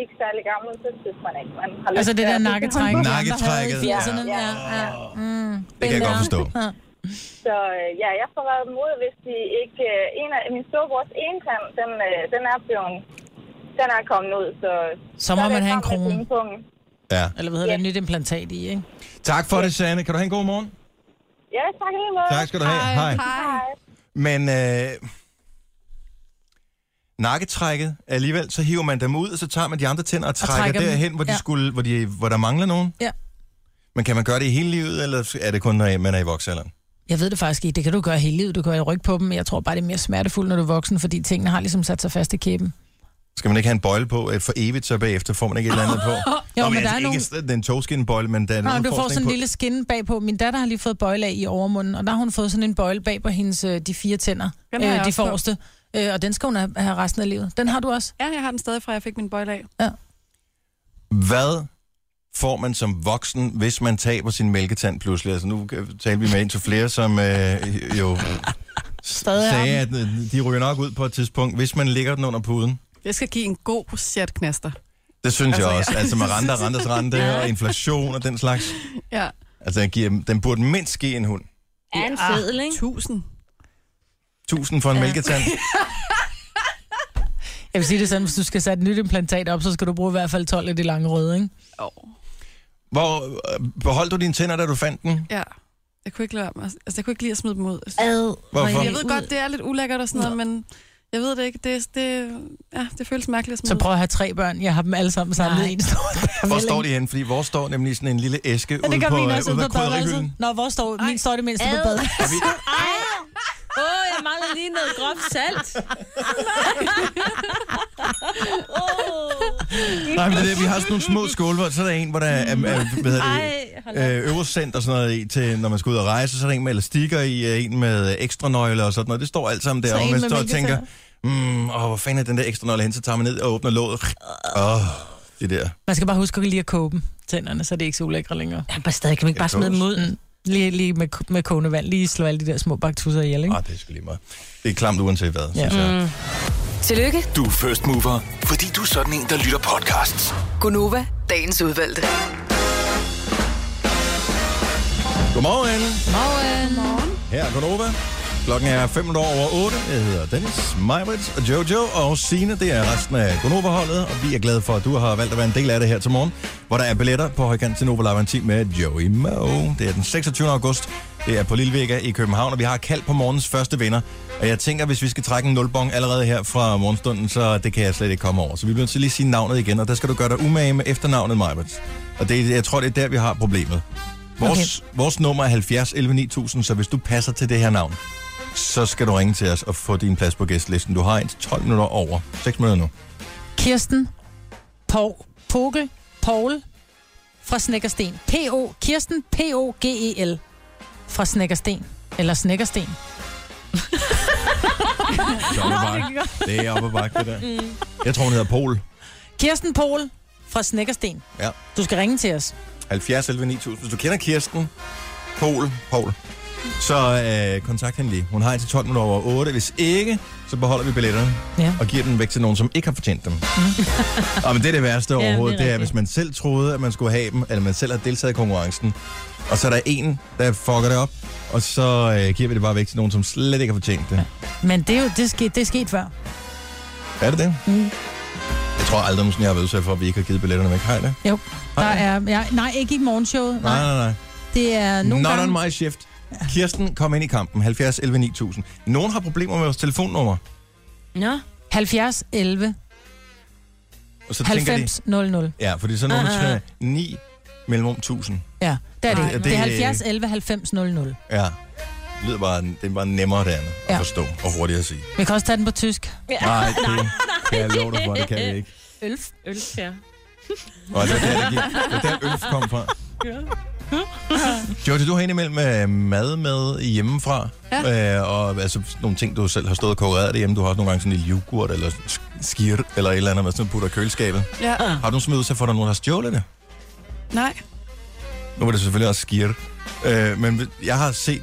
L: ikke særlig gammel, så synes man ikke, man har lyst
C: Altså det
L: til
C: der
L: at-
C: nakketræk, de andre havde i
A: Nakketrækket,
C: 80'erne.
L: ja.
C: Ja, ja. Mm.
A: Det kan jeg godt forstå.
L: Så øh, ja, jeg får reddet dem ud, hvis de ikke... Øh, en af, min storebrors ene tand, den, øh, den er blevet... Den er kommet ud, så...
C: Så må
L: er det
C: man have en
L: frem med
C: krone.
L: pengepungen.
A: Ja.
C: Eller hvad hedder det, et nyt implantat i, ikke?
A: Tak for det, Sanne. Kan du have en god morgen?
L: Ja, tak i lige måde.
A: Tak skal du have. Hej.
L: Hej.
A: Men øh, nakketrækket, alligevel, så hiver man dem ud, og så tager man de andre tænder og trækker,
C: trækker dem.
A: derhen, hvor, de
C: Ja.
A: skulle, hvor, de, hvor der mangler nogen.
C: Ja.
A: Men kan man gøre det i hele livet, eller er det kun, når man er i voksalderen?
C: Jeg ved det faktisk ikke. Det kan du gøre hele livet. Du kan jo rykke på dem, men jeg tror bare, det er mere smertefuldt, når du er voksen, fordi tingene har ligesom sat sig fast i kæben.
A: Skal man ikke have en bøjle på øh, for evigt, så bagefter får man ikke et eller andet på?
C: Jo,
A: Nå,
C: men der
A: altså,
C: er
A: ikke
C: nogle-
A: sådan en togskinbøjle, men der er
C: Nej,
A: nogen
C: du får
A: forskning
C: sådan en
A: på...
C: lille skinne bagpå. Min datter har lige fået bøjle af i overmunden, og der har hun fået sådan en bøjle bag på hendes øh, de fire tænder.
F: Den har jeg
C: Øh, de
F: også på.
C: forreste. Øh, og den skal hun have have resten af livet. Den har du også?
F: Ja, jeg har den stadig fra, jeg fik min bøjle af.
C: Ja.
A: Hvad får man som voksen, hvis man taber sin mælketand pludselig? Altså nu øh, talte vi med en til flere, som øh, jo
C: Stadig
A: sagde,
F: har
A: at øh, de ryger nok ud på et tidspunkt, hvis man ligger den under puden.
F: Jeg skal give en god chat knaster.
A: Det synes altså,
F: Altså,
A: jeg
F: ja.
A: også. Altså med renter, renters rente
F: Ja.
A: og inflation og den slags.
F: Ja.
A: Altså den, giver, den burde mindst give en hund.
F: Er en
E: seddel,
F: ikke? Tusind.
A: Tusind for en ja. mælketand.
C: Jeg vil sige det sådan, hvis du skal sætte et nyt implantat op, så skal du bruge i hvert fald 12 af de lange røde, ikke?
A: Hvor øh, beholdt du dine tænder, da du fandt den?
F: Ja. Jeg kunne ikke lade være med- altså, jeg kunne ikke lide at smide dem ud.
M: Ad.
A: Hvorfor?
F: Jeg ved godt, det er lidt ulækkert og sådan noget, men jeg ved det ikke. Det, det, ja, det føles mærkeligt at smide
C: Så prøv at have tre børn. Jeg har dem alle sammen samlet i en stor
A: Hvor står de henne? Fordi vores står nemlig i sådan en lille æske
C: Ja,
A: ude
C: det gør
A: på,
C: min
A: øh,
C: også
A: ude
C: ude
A: på
C: på badeværelset.
A: krydderhylden.
C: Nå, hvor står min står det mindste på
M: Ad.
C: badeværelset.
E: Åh, oh, jeg mangler lige noget groft salt.
A: Nej, men det er det, vi har sådan nogle små skåle, hvor så er der en, hvor der er, er, er hvad
E: Ej,
A: hedder det, øh, øversendt og sådan noget i, til, når man skal ud og rejse, så er der en med elastikker i, og en med ekstra nøgler og sådan noget. Det står alt sammen der,
C: Så
A: og
C: en
A: man
C: med
A: står og tænker, mm, åh, hvor fanden er den der ekstra nøgle hen, så tager man ned og åbner låget. Åh, det der.
C: Man skal bare huske at lige at kåbe dem, tænderne, så det er ikke så ulækre længere.
M: Ja, bare stadig kan man ikke bare smide dem ud.
C: Mm. Lige, lige med, med kogende vand. Lige slå alle de der små baktusser ihjel, ikke?
A: Ah, det er sgu lige meget. Det er klamt uanset hvad,
C: Ja. Mm.
A: synes jeg.
B: Tillykke.
G: Du er first mover, fordi du er sådan en, der lytter podcasts.
B: Gunova, dagens udvalgte.
A: Godmorgen.
C: Godmorgen.
A: Her er Konoba. Klokken er 5 over 8. Jeg hedder Dennis, Majbrits og Jojo og Sine. Det er resten af Konoba-holdet, og vi er glade for, at du har valgt at være en del af det her til morgen, hvor der er billetter på Højkant til Nova Lavanti med Joey Moe. Det er den 26. august. Det er på Lille Vega i København, og vi har kaldt på morgens første vinder. Og jeg tænker, hvis vi skal trække en nulbong allerede her fra morgenstunden, så det kan jeg slet ikke komme over. Så vi bliver nødt til lige at sige navnet igen, og der skal du gøre dig umage med efternavnet, Majbrits. Og det, jeg tror, det er der, vi har problemet. Vores, okay. vores nummer er 70 11 9000, så hvis du passer til det her navn, så skal du ringe til os og få din plads på gæstlisten. Du har indtil 12 minutter over. 6 minutter nu.
C: Kirsten Pog, Pogel, Paul fra Snækkersten. P-O, Kirsten P-O-G-E-L fra Snækkersten. Eller Snækkersten.
A: Det er op ad bakke. Det er op ad bakke, det der. Jeg tror, hun hedder Pol.
C: Kirsten Pol fra Snækkersten.
A: Ja.
C: Du skal ringe til os.
A: 70 11 9000. Hvis du kender Kirsten, Pol, Pol, så øh, kontakt hende lige. Hun har indtil 12 minutter over 8. Hvis ikke, så beholder vi billetterne
C: ja.
A: og giver dem væk til nogen, som ikke har fortjent
C: Mm.
A: dem. og men det er det værste
N: det er
A: overhovedet, det er,
N: rigtigt.
A: hvis man selv troede, at man skulle have dem, eller man selv har deltaget i konkurrencen, og så er der en, der fucker det op, og så øh, giver vi det bare væk til nogen, som slet ikke har fortjent det.
C: Men det er jo det er sket, det er sket før.
A: Er det det?
C: Mm.
A: Jeg tror aldrig, nogensinde, jeg har været udsat for, at vi ikke har givet billetterne væk. Har jeg det?
C: Jo, der er... Ja, nej, ikke i morgenshowet.
A: Nej, nej, nej.
C: Det er nogle
A: Not
C: gange...
A: on my shift. Kirsten, kom ind i kampen. 70 11 9000. Nogen har problemer med vores telefonnummer.
C: Nå. 70 11
A: Og så tænker
C: 90 00.
A: de, ja, fordi så er nogen, der
C: Ah,
A: skriver
C: ah.
A: 9 mellemrum 1000.
C: Ja, der er det.
A: Ej,
C: det,
A: det-
C: det er 70 11 90 00.
A: Ja. Det lyder bare, det er bare nemmere det andet ja.
C: Ja.
A: at forstå og hurtigt at sige.
C: Vi kan også tage den på tysk.
A: Nej, det kan jeg love dig for, det kan vi ikke.
M: Ølf. Ølf, ja.
A: Og det er der, det gik. Det er der ølf kom fra. Jojo, du har indimellem øh, mad med hjemmefra. Ja. Øh, og altså nogle ting, du selv har stået og konkurreret derhjemme. Du har også nogle gange sådan en lille yoghurt eller sk- skirt eller et eller andet, man sådan putter i køleskabet.
F: Ja.
A: Har du smidt ud til, for at der er nogen, der har stjålet det?
F: Nej.
A: Nu var det selvfølgelig også skirt. Øh, men jeg har set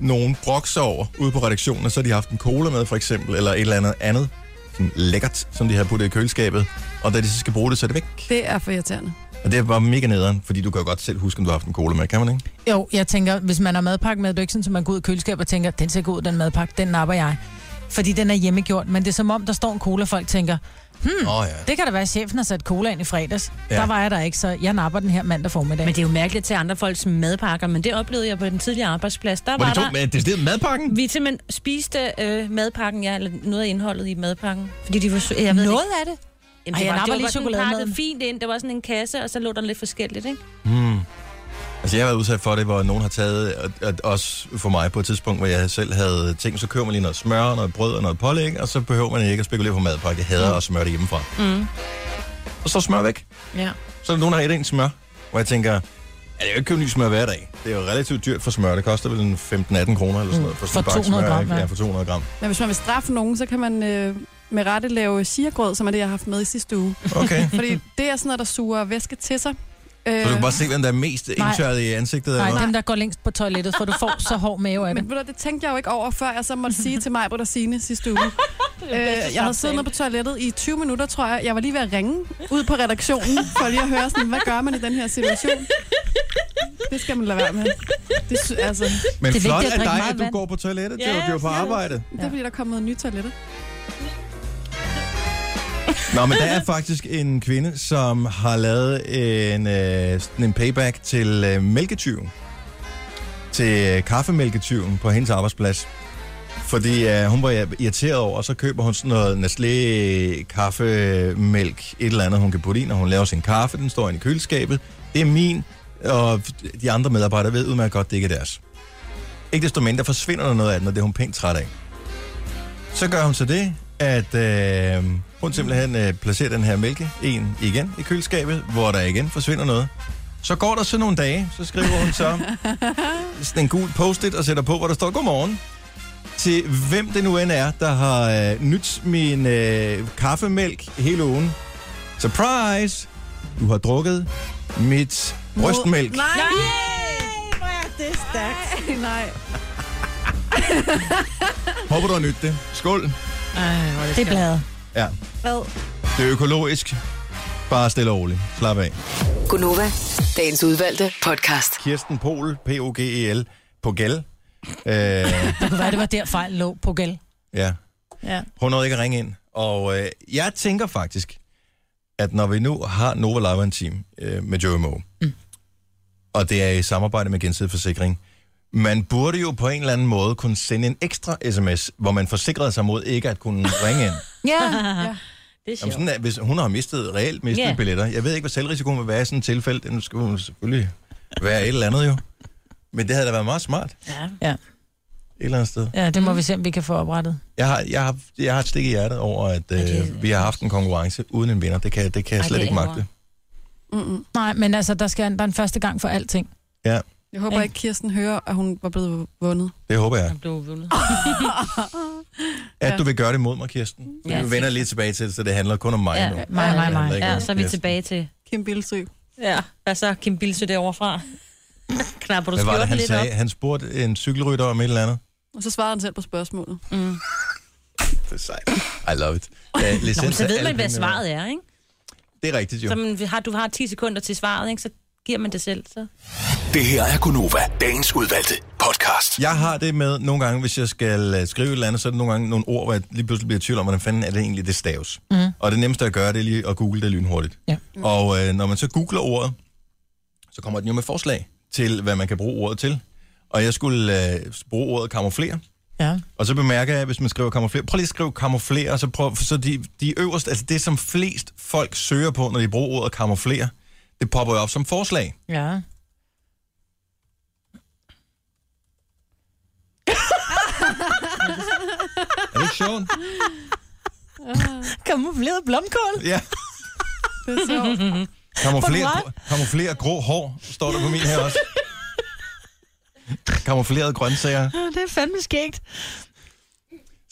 A: nogen brokse over ude på redaktionen, og så har de haft en cola med, for eksempel, eller et eller andet andet sådan lækkert, som de har puttet i køleskabet. Og da de så skal bruge det, så er det væk.
F: Det er for irriterende.
A: Og det er bare mega nederen, fordi du kan jo godt selv huske, om du har haft en cola med, kan man ikke?
C: Jo, jeg tænker, hvis man har madpakke med, det er jo ikke sådan, at man går ud i køleskabet og tænker, den ser god ud, den madpakke, den napper jeg. Fordi den er hjemmegjort, men det er som om, der står en cola, folk tænker, hmm,
A: oh, ja.
C: det kan da være, at chefen har sat cola ind i fredags.
M: Ja.
C: Ja. Der var jeg der ikke, så jeg napper den her mandag formiddag.
M: Men det er jo mærkeligt til andre folks madpakker, men det oplevede jeg på den tidligere arbejdsplads. Der
C: Hvor de
M: var
C: tog
M: der...
C: med- decideret madpakken?
M: Vi simpelthen spiste øh, madpakken, ja, eller noget af indholdet i madpakken. Fordi de var... sø- Jeg ved
C: Noget
M: ikke.
C: af det?
M: Jamen,
C: Ej,
M: det
C: jeg
M: var, det
C: napper
M: var
C: lige
M: lige sådan
C: chokolademaden.
M: pakket fint ind. Det var sådan en kasse, og så lå der lidt forskelligt, ikke?
A: Hmm. Altså, jeg har været udsat for det, hvor nogen har taget, og, og, også for mig på et tidspunkt, hvor jeg selv havde ting, så køber man lige noget smør, noget brød og noget pålæg, og så behøver man ikke at spekulere på madpakke. Jeg hader at smøre det hjemmefra.
M: Mm.
A: Og så smør væk.
M: Ja.
A: Så er der nogen, der har et en smør, hvor jeg tænker, at jeg kan jo ikke købe ny smør hver dag. Det er jo relativt dyrt for smør. Det koster vel en 15-18 kroner eller sådan noget.
F: Mm,
A: sådan en
F: for
A: bakke
F: 200
A: smør,
F: gram,
A: ikke?
F: ja.
A: Ja, for 200 gram.
F: Men hvis man vil straffe nogen, så kan man øh, med rette lave chiagrød, som er det, jeg har haft med i sidste uge.
A: Okay.
F: Fordi det er sådan noget, der suger væske til sig.
A: Så
F: Øh,
A: du kan bare se, hvem der er mest indtørret i ansigtet. eller
C: Nej,
A: hvad?
C: dem, der går længst på toilettet, for du får så hård mave af det.
F: Men ved du, det tænkte jeg jo ikke over, før jeg så måtte sige til mig, Britt og Signe sidste uge. øh, jeg havde siddet nede på toilettet i 20 minutter, tror jeg. Jeg var lige ved at ringe ud på redaktionen, for lige at høre, sådan, hvad gør man i den her situation? Det skal man lade være med. Det, sy- altså,
A: Men det flot af dig, at du går på toilettet,
F: Ja,
A: ja, du er på
F: ja.
A: arbejde.
F: Det er fordi, der er kommet nye toiletter.
A: Nå, men der er faktisk en kvinde, som har lavet en, øh, sådan en payback til øh, mælketyven. Til øh, kaffemælketyven på hendes arbejdsplads. Fordi øh, hun var irriteret over, og så køber hun sådan noget Nestlé kaffemælk, et eller andet, hun kan putte i, når hun laver sin kaffe. Den står inde i køleskabet. Det er min, og de andre medarbejdere ved udmærket godt, det ikke er deres. Ikke desto mindre forsvinder der noget af den, og det er hun pænt træt af. Så gør hun så det, at øh, hun simpelthen øh, placerer den her mælke en igen i køleskabet, hvor der igen forsvinder noget. Så går der så nogle dage, så skriver hun så sådan en gul post-it og sætter på, hvor der står godmorgen. Til hvem det nu end er, der har øh, nyt min øh, kaffemælk hele ugen. Surprise! Du har drukket mit brystmælk.
F: Nej! Nej! Hvor er det stærkt. Nej.
A: Håber du har nyt det. Skål!
C: Ej, hvor er
E: Det er bladet.
A: Ja. Det er økologisk. Bare stille og roligt. Slap af.
B: Gunova, dagens udvalgte podcast.
A: Kirsten Pol, P-O-G-E-L, E på gæld. Øh,
C: Det kunne være, det var der fejlen lå på gæld.
A: ja.
C: Ja.
A: Hun nåede ikke at ringe ind. Og øh, jeg tænker faktisk, at når vi nu har Nova Live en team øh, med Joey Moe, mm. og det er i samarbejde med Gensidig Forsikring, man burde jo på en eller anden måde kunne sende en ekstra sms, hvor man forsikrede sig mod ikke at kunne ringe ind.
E: Ja. ja. Det er
A: Jamen
E: sjovt.
A: sådan, at hvis hun har mistet, reelt mistet
E: Ja.
A: yeah. billetter. Jeg ved ikke, hvad selvrisikoen vil være i sådan et tilfælde. Den skal hun selvfølgelig være et eller andet jo. Men det havde da været meget smart et
C: Ja. ja.
A: eller andet sted.
C: Ja, det må vi se, om vi kan få oprettet.
A: Jeg har, jeg har, jeg har et stik i hjertet over, at øh, vi har haft en konkurrence uden en vinder. Det kan, det kan jeg
C: Ej,
A: slet
C: det er
A: ikke magte.
C: Mm-mm. Nej, men altså, der, skal, der er en første gang for alting.
A: Ja,
F: Jeg håber ikke, Kirsten hører, at hun var blevet vundet.
A: det håber jeg.
C: blev vundet.
A: At du vil gøre det mod mig, Kirsten.
E: Ja.
A: Vi vender lige tilbage til det, så det handler kun om mig
E: Ja,
A: nu.
E: mig,
A: Det
E: mig,
A: handler
E: mig.
A: ikke
E: Ja,
A: om
E: så er vi
A: Kirsten.
E: tilbage til...
F: Kim Bilsø.
E: Ja, hvad så? Kim Bilsø derovre fra? Knapper du
A: Hvad var det,
E: skjorten
A: han
E: lidt
A: sagde?
E: op?
A: Han spurgte en cykelrytter om et eller andet.
F: Og så svarede han selv på spørgsmålet. Mm.
A: Det er sejt. I love it. Uh,
E: Nå, men så ved man, hvad svaret er, ikke?
A: Det er rigtigt, jo.
E: Så man, har, du har 10 sekunder til svaret, ikke? Så giver man det selv, så...
G: Det her er Gunova, dagens udvalgte podcast.
A: Jeg har det med nogle gange, hvis jeg skal øh, skrive et eller andet, så er det nogle gange nogle ord, hvor jeg lige pludselig bliver i tvivl om, hvordan fanden er det egentlig, det staves. Mm. Og det nemmeste at gøre, det er lige at google det lynhurtigt.
C: Ja.
A: Og øh, når man så googler ordet, så kommer den jo med forslag til, hvad man kan bruge ordet til. Og jeg skulle øh, bruge ordet kamuflere.
C: Ja.
A: Og så bemærker jeg, hvis man skriver kamuflere, prøv lige at skrive kamuflere, og så, prøv, så de, de øverste, altså det som flest folk søger på, når de bruger ordet kamuflere, det popper jo op som forslag.
C: Ja.
A: Er det ikke sjovt?
C: Kamufleret blomkål.
A: Ja.
F: Det er sjovt.
A: Kamufleret,
C: What?
A: kamufleret grå hår, står der på min her også. Kamuflerede grøntsager.
C: Det er fandme skægt.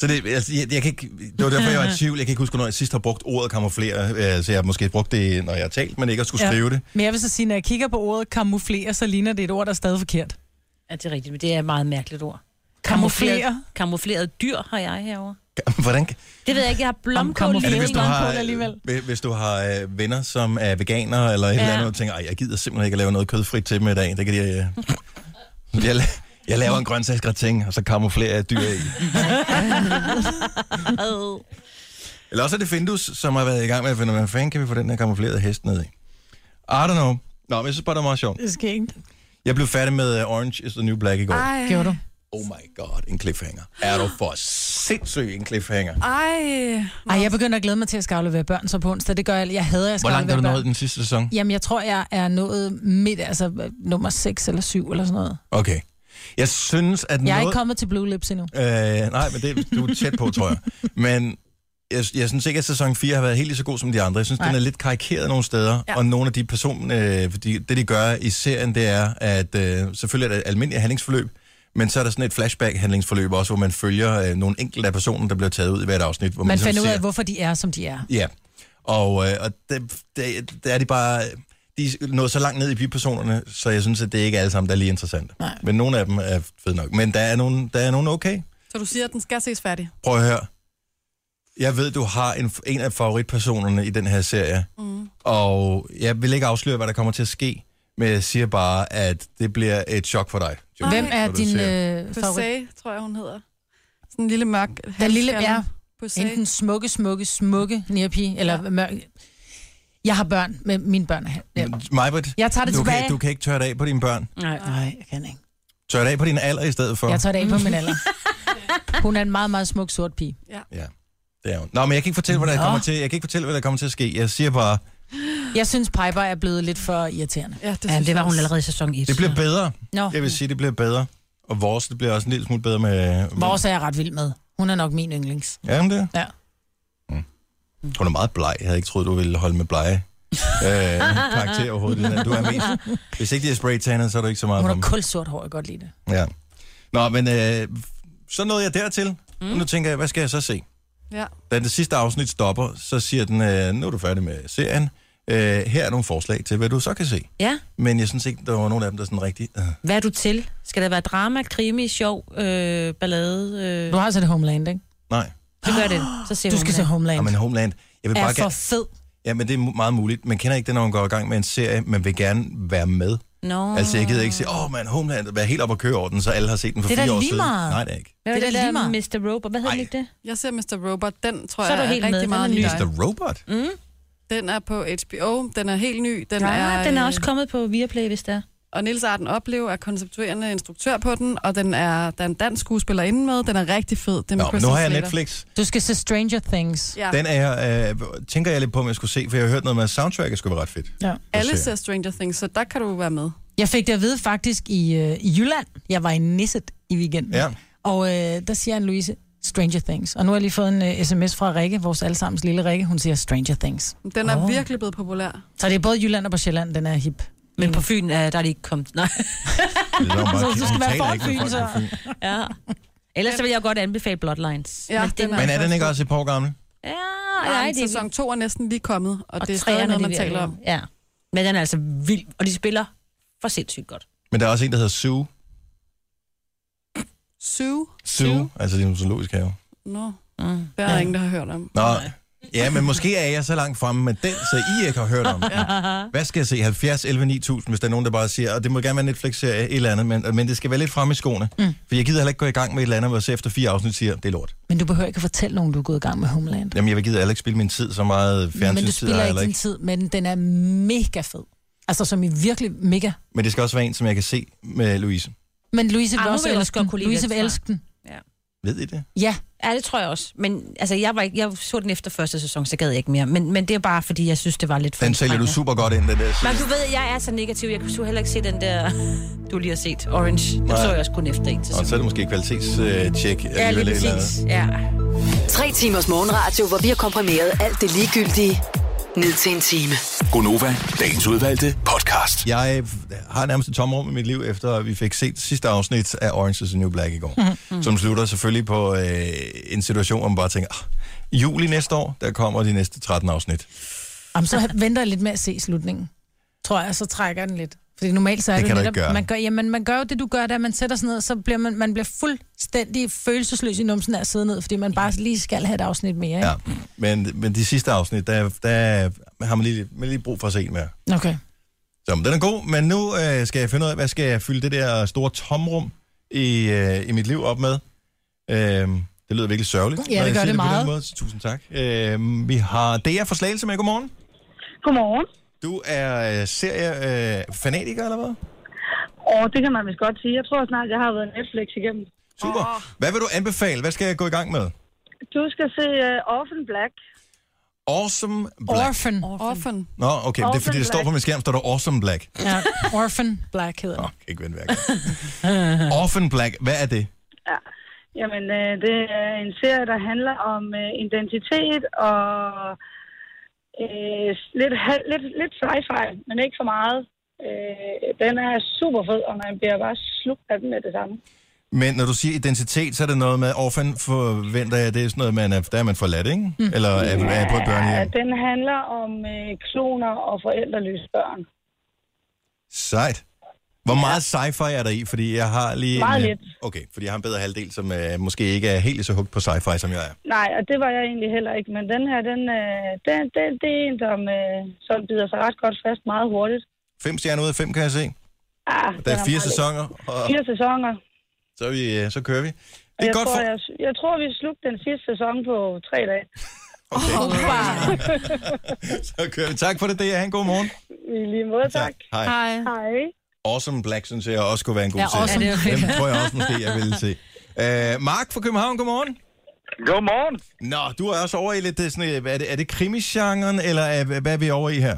A: Så det, altså, jeg, jeg kan ikke, det var derfor, jeg var i tvivl. Jeg kan ikke huske, når jeg sidst har brugt ordet kamuflere. øh, Så jeg har måske brugt det, når jeg har talt, men ikke at skulle ja. skrive det.
C: Men jeg vil så sige, når jeg kigger på ordet kamuflere, så ligner det et ord, der er stadig forkert.
E: Ja, det er rigtigt, men det er et meget mærkeligt ord.
C: Kamuflere.
E: Kamufleret dyr har jeg herover.
A: Hvordan,
E: Det ved jeg ikke, jeg har blomkål
A: er det,
E: lige
A: hvis du har,
E: blomkål alligevel.
A: øh, hvis du har øh, venner, som er veganere eller et ja.
E: Ja.
A: eller andet, og tænker, "Ej, jeg gider simpelthen ikke at lave noget kødfrit til dem i dag. Det kan de, øh, jeg, la- jeg laver en grøntsagsgratin, og så kamuflerer jeg dyr i. Eller også er det Findus, som har været i gang med at finde, ud af, hvad fanden kan vi få den her kamuflerede hest ned i? I don't know. Nå, men jeg synes bare, det var meget sjovt.
C: Det er skægt.
A: Jeg blev færdig med øh, Orange is the New Black i går.
F: Ej.
C: Gjorde du?
A: Oh my god, en cliffhanger. Er du for sindssyg en cliffhanger?
F: Ej.
C: Ej, jeg begynder at glæde mig til at skal aflevere børn så på onsdag. Det gør jeg. Jeg hader, at jeg skal
A: Hvor langt er
C: aflevere
A: du nået i
C: børn.
A: den sidste sæson?
C: Jamen, jeg tror, jeg er nået midt, altså øh, nummer 6 eller 7 eller sådan noget.
A: Okay. Jeg synes, at
C: Jeg er
A: noget...
C: ikke kommet til Blue Lips endnu.
A: Øh, nej, men det, du er tæt på, tror jeg. Men jeg, jeg synes ikke, at sæson 4 har været helt lige så god som de andre. Jeg synes, nej.
C: Nej.
A: den er lidt karikeret nogle steder, ja. og nogle af de personer, øh, de, det de gør i serien, det er, at øh, selvfølgelig er det et almindeligt handlingsforløb, men så er der sådan et flashback-handlingsforløb også, hvor man følger øh, nogle enkelte af personerne, der bliver taget ud i hvert afsnit. Hvor
C: Man
A: ligesom
C: finder ud af,
A: ser-
C: hvorfor de er, som de er.
A: Ja, og, øh, og det, det, det er de bare... De er nået så langt ned i bipersonerne, så jeg synes, at det ikke er alle sammen, der er lige interessante.
C: Nej.
A: Men nogle af dem er fede nok. Men der er nogle, der er nogle okay.
F: Så du siger, at den skal ses færdig?
A: Prøv at høre. Jeg ved, du har en, en af favoritpersonerne i den her serie,
F: Mm.
A: og jeg vil ikke afsløre, hvad der kommer til at ske, men jeg siger bare, at det bliver et chok for dig. Jo,
C: Hvem er
A: når du
C: din
A: ser-
C: øh, favorit?
F: Pussé, tror jeg, hun hedder. Sådan en lille mørk...
C: Den lille, ja,
F: Pussé.
C: enten smukke, smukke, smukke nærpige, eller ja. mørk. Jeg har børn, med mine børn. er her. Ja.
A: Majbert,
C: Jeg tager det
A: du
C: tilbage.
A: kan, du kan ikke tørre det af på dine børn.
E: Nej,
C: Nej, jeg kan ikke.
A: Tørre det af på din alder i stedet for.
C: Jeg tager det af på min alder. Hun er en meget, meget smuk sort pige.
A: Ja, det er hun. Nå, men jeg kan ikke fortælle, hvad der
C: Nå.
A: kommer til. Jeg kan ikke fortælle, hvad der kommer til at ske. Jeg siger bare,
C: Jeg synes, Piper er blevet lidt for irriterende.
F: Ja, det,
E: Ja,
F: synes
E: det var
F: jeg
E: hun
F: også.
E: allerede i sæson 1.
A: det bliver bedre.
C: Nå,
A: Jeg vil sige, det bliver bedre. Og vores, det bliver også en lille smule bedre med...
C: vores er jeg ret vild med. Hun er nok min yndlings.
A: Er hun det?
C: Ja.
A: Mm. Hun er meget bleg. Jeg havde ikke troet, du ville holde med blege øh, karakter overhovedet. Lina. Du er mest. Hvis ikke de er spraytannet, så er du ikke så meget på
C: Hun har
A: dem.
C: kulsort hår, jeg kan godt lide det.
A: Ja. Nå, men øh, så nåede jeg dertil. Mm. Nu tænker jeg, hvad skal jeg så se?
F: Ja.
A: Da det sidste afsnit stopper, så siger den, øh, nu er du færdig med serien. Øh, her er nogle forslag til, hvad du så kan se.
E: Ja,
A: Men jeg synes ikke, der var nogen af dem, der sådan rigtig... Øh.
E: hvad er du til? Skal der være drama, krimi, sjov, øh, ballade? Øh?
F: altså
C: Du har set Homeland, ikke?
A: Nej.
E: Så gør det. Så ser
C: Du skal se Homeland.
A: Ja, men Homeland. Jeg vil bare
C: er for
A: gerne...
C: fed.
A: Ja, men det er mu- meget muligt. Man kender ikke det, når man går i gang med en serie. Man vil gerne være med.
E: Nå.
A: Altså, jeg gider ikke sige, åh oh, man, Homeland, være helt op og køre over den, så alle har set den for
E: Det er da
A: fire år
E: lige
A: siden.
E: meget.
A: Nej, det er ikke.
E: Hvad
F: Det
E: det,
F: er
E: det
F: da
E: der
F: lige
E: Mr. Robot? Hvad hedder den ikke det?
F: Jeg ser Mr. Robot. Den tror
E: Så er
F: jeg
E: du helt
F: er
E: med.
F: rigtig
E: Den er
F: meget
E: ny.
F: lige
A: Mr. Robot?
E: Mm.
F: Den er på HBO. Den er helt ny. Den,
E: Ja,
F: er,
E: den er
F: øh,
E: også kommet på Viaplay, hvis det er.
F: Og Nils Arden Oplev er konceptuerende instruktør på den, og den er, der er en dansk skuespiller inde med. Den er rigtig fed. Den
A: Nå, nu har jeg Netflix.
C: Du skal se Stranger Things.
F: Ja.
A: Den er, jeg, øh, tænker jeg lidt på, om jeg skulle se, for jeg har hørt noget med, at soundtracket skulle være ret fedt.
C: Ja.
F: Alle ser Stranger Things, så der kan du være med.
C: Jeg fik det at vide faktisk i, øh, i Jylland. Jeg var i Nisset i weekenden.
A: Ja.
C: Og øh, der siger en Louise, Stranger Things. Og nu har jeg lige fået en øh, sms fra Rikke, vores allesammens lille Rikke. Hun siger Stranger Things.
F: Den er
C: Åh.
F: oh. virkelig blevet populær.
C: Så det er både i Jylland og på Sjælland, den er hip.
E: Men på Fyn, øh, der er de ikke kommet. Nej.
C: Så du skal være for Fyn, så.
E: Ja. Ellers så vil jeg godt anbefale Bloodlines.
F: Ja,
E: det
F: den er
A: Men er den ikke også et par år gammel?
E: Ja,
F: Nej,
E: nej, det er
F: sæson 2 er næsten lige kommet, og, og det er stadig
E: træerne,
F: noget,
E: de
F: man
E: vil
F: taler
E: lave.
F: om.
E: Ja. Men den er altså vild, og de spiller for sindssygt godt.
A: Men der er også en, der hedder Sue.
F: Sue?
A: Sue, altså det er en zoologisk have.
F: Nå,
E: Mm.
F: der er ingen, der har hørt om.
A: Nå, ja, men måske er jeg så langt fremme med den, så I ikke har hørt om den. Hvad skal jeg se? 70, 11, 9000, hvis der er nogen, der bare siger, og det må gerne være en Netflix-serie, et eller andet, men, men det skal være lidt fremme i skoene. Mm. For jeg gider heller ikke gå i gang med et eller andet, hvor jeg så efter fire afsnit siger, det er lort.
C: Men du behøver ikke at fortælle nogen, du er gået i gang med Homeland.
A: Jamen, jeg vil gider heller ikke spille min tid så meget
C: men du
A: fjernsynstid. har
C: spiller
A: jeg
C: ikke
A: heller
C: din tid, men den er mega fed. Altså, som i virkelig mega.
A: Men det skal også være en, som jeg kan se med Louise.
C: Men Louise
E: Ah,
C: vil
E: nu
C: også
E: vil jeg også
C: elske
E: godt
C: den.
E: kunne lide
C: Louise
E: den,
C: vil
E: tror jeg.
C: elske den.
A: Ved I det?
C: Ja.
E: Ja, det tror jeg også. Men altså, jeg, var ikke, jeg så den efter første sæson, så gad jeg ikke mere. Men, men det er bare, fordi jeg synes, det var lidt for
A: Den sælger du
E: anstrengende.
A: super godt ind, den der.
E: Men du ved, jeg er så negativ. Jeg kunne sgu heller ikke se den der, du lige har set, Orange. Den
A: Nej.
E: så jeg også kun efter en til
A: Og så er det måske et kvalitetstjek.
E: Ja,
A: alligevel,
E: lige
A: eller andet.
E: præcis. Ja.
B: Tre timers morgenradio, hvor vi har komprimeret alt det ligegyldige ned til en time. Mm.
G: Gonova, dagens udvalgte podcast.
A: Jeg øh, har nærmest et tomrum i mit liv, efter at vi fik set sidste afsnit af Orange is the New Black i går.
G: Mhm.
A: Mm-hmm. Som slutter selvfølgelig på øh, en situation, hvor man bare tænker, ah, i juli næste år, der kommer de næste 13 afsnit.
C: Jamen, så venter jeg lidt med at se slutningen. Tror jeg, så trækker jeg den lidt. Fordi normalt så er
A: Det
C: det,
A: kan du
C: netop,
A: ikke gøre.
C: man gør, jamen, man gør jo det, du gør, der man sætter sig ned, så bliver man, man bliver fuldstændig følelsesløs i numsen af at sidde ned, fordi man bare lige skal have et afsnit mere. Ikke?
A: Ja. Men, men de sidste afsnit, der, der har man lige, man lige brug for at se en mere.
C: Okay.
A: Så men den er god, men nu øh, skal jeg finde ud af, hvad skal jeg fylde det der store tomrum i, øh, i mit liv op med. Øh, det lyder virkelig sørgeligt.
C: Ja, det
A: når jeg
C: gør
A: siger
C: det
A: på den
C: meget.
A: måde, så tusind tak. Øh, vi har Dea fra Slagelse med. Godmorgen.
N: Godmorgen.
A: Du er øh, seriefanatiker, eller hvad?
N: Og det kan man vist godt sige. Jeg tror snart, jeg har været Netflix igennem.
A: Super. Hvad vil du anbefale? Hvad skal jeg gå i gang med?
N: Du skal se uh, Orphan Black.
A: Awesome Black.
C: Orphan.
F: Orphan.
A: Nå, okay, men det er fordi,
N: Orphan
A: det står på
N: Black.
A: min skærm, står der Awesome Black. Jeg
C: Ja. Orphan Black hedder den.
A: kan ikke vende værk. Orphan Black, hvad er det?
N: Jamen, øh, det er en serie, der handler om øh, identitet og øh, lidt, ha- lidt, lidt sci-fi, men ikke for meget. Øh, den er super fed, og man bliver bare slugt af den med det samme.
A: Men når du siger identitet, så er det noget med, orphan forventer jeg, det er sådan noget, man er, der er man forladt, ikke? Mm. Eller er, er jeg på et
N: Ja,
A: børnehjem?
N: den handler om øh, kloner og forældreløse børn.
A: Sejt. Hvor meget sci-fi er der i? Fordi jeg har lige...
N: Meget
A: en, øh,
N: lidt.
A: Okay, fordi jeg har en bedre halvdel, som øh, måske ikke er helt så hugt på sci-fi, som jeg er.
N: Nej, og det var jeg egentlig heller ikke, men den her, den, øh, den, den det er en, som, øh, som bider sig ret godt fast meget hurtigt.
A: Fem stjerner ud af fem, kan jeg se.
N: Ah,
A: Der er fire sæsoner, og
N: Fire sæsoner.
A: så, er vi, øh, så kører vi.
N: Og
A: Det er
N: jeg,
A: godt
N: tror,
A: for...
N: jeg, jeg tror, vi slugte den sidste sæson på tre dage.
A: Så kører vi. Tak for det, det er en god morgen.
N: I lige måde, tak.
A: Hej.
N: Hej.
A: Awesome Black, synes jeg også kunne være en god
N: Ja,
A: serie.
N: Awesome Ja, det er okay.
A: Dem tror jeg også måske, jeg ville se. Uh, Mark fra København, godmorgen. Godmorgen. Nå, du er også over i lidt øh, sådan, øh, hvad er det, er det krimisgenren, eller er, hvad er vi over i her?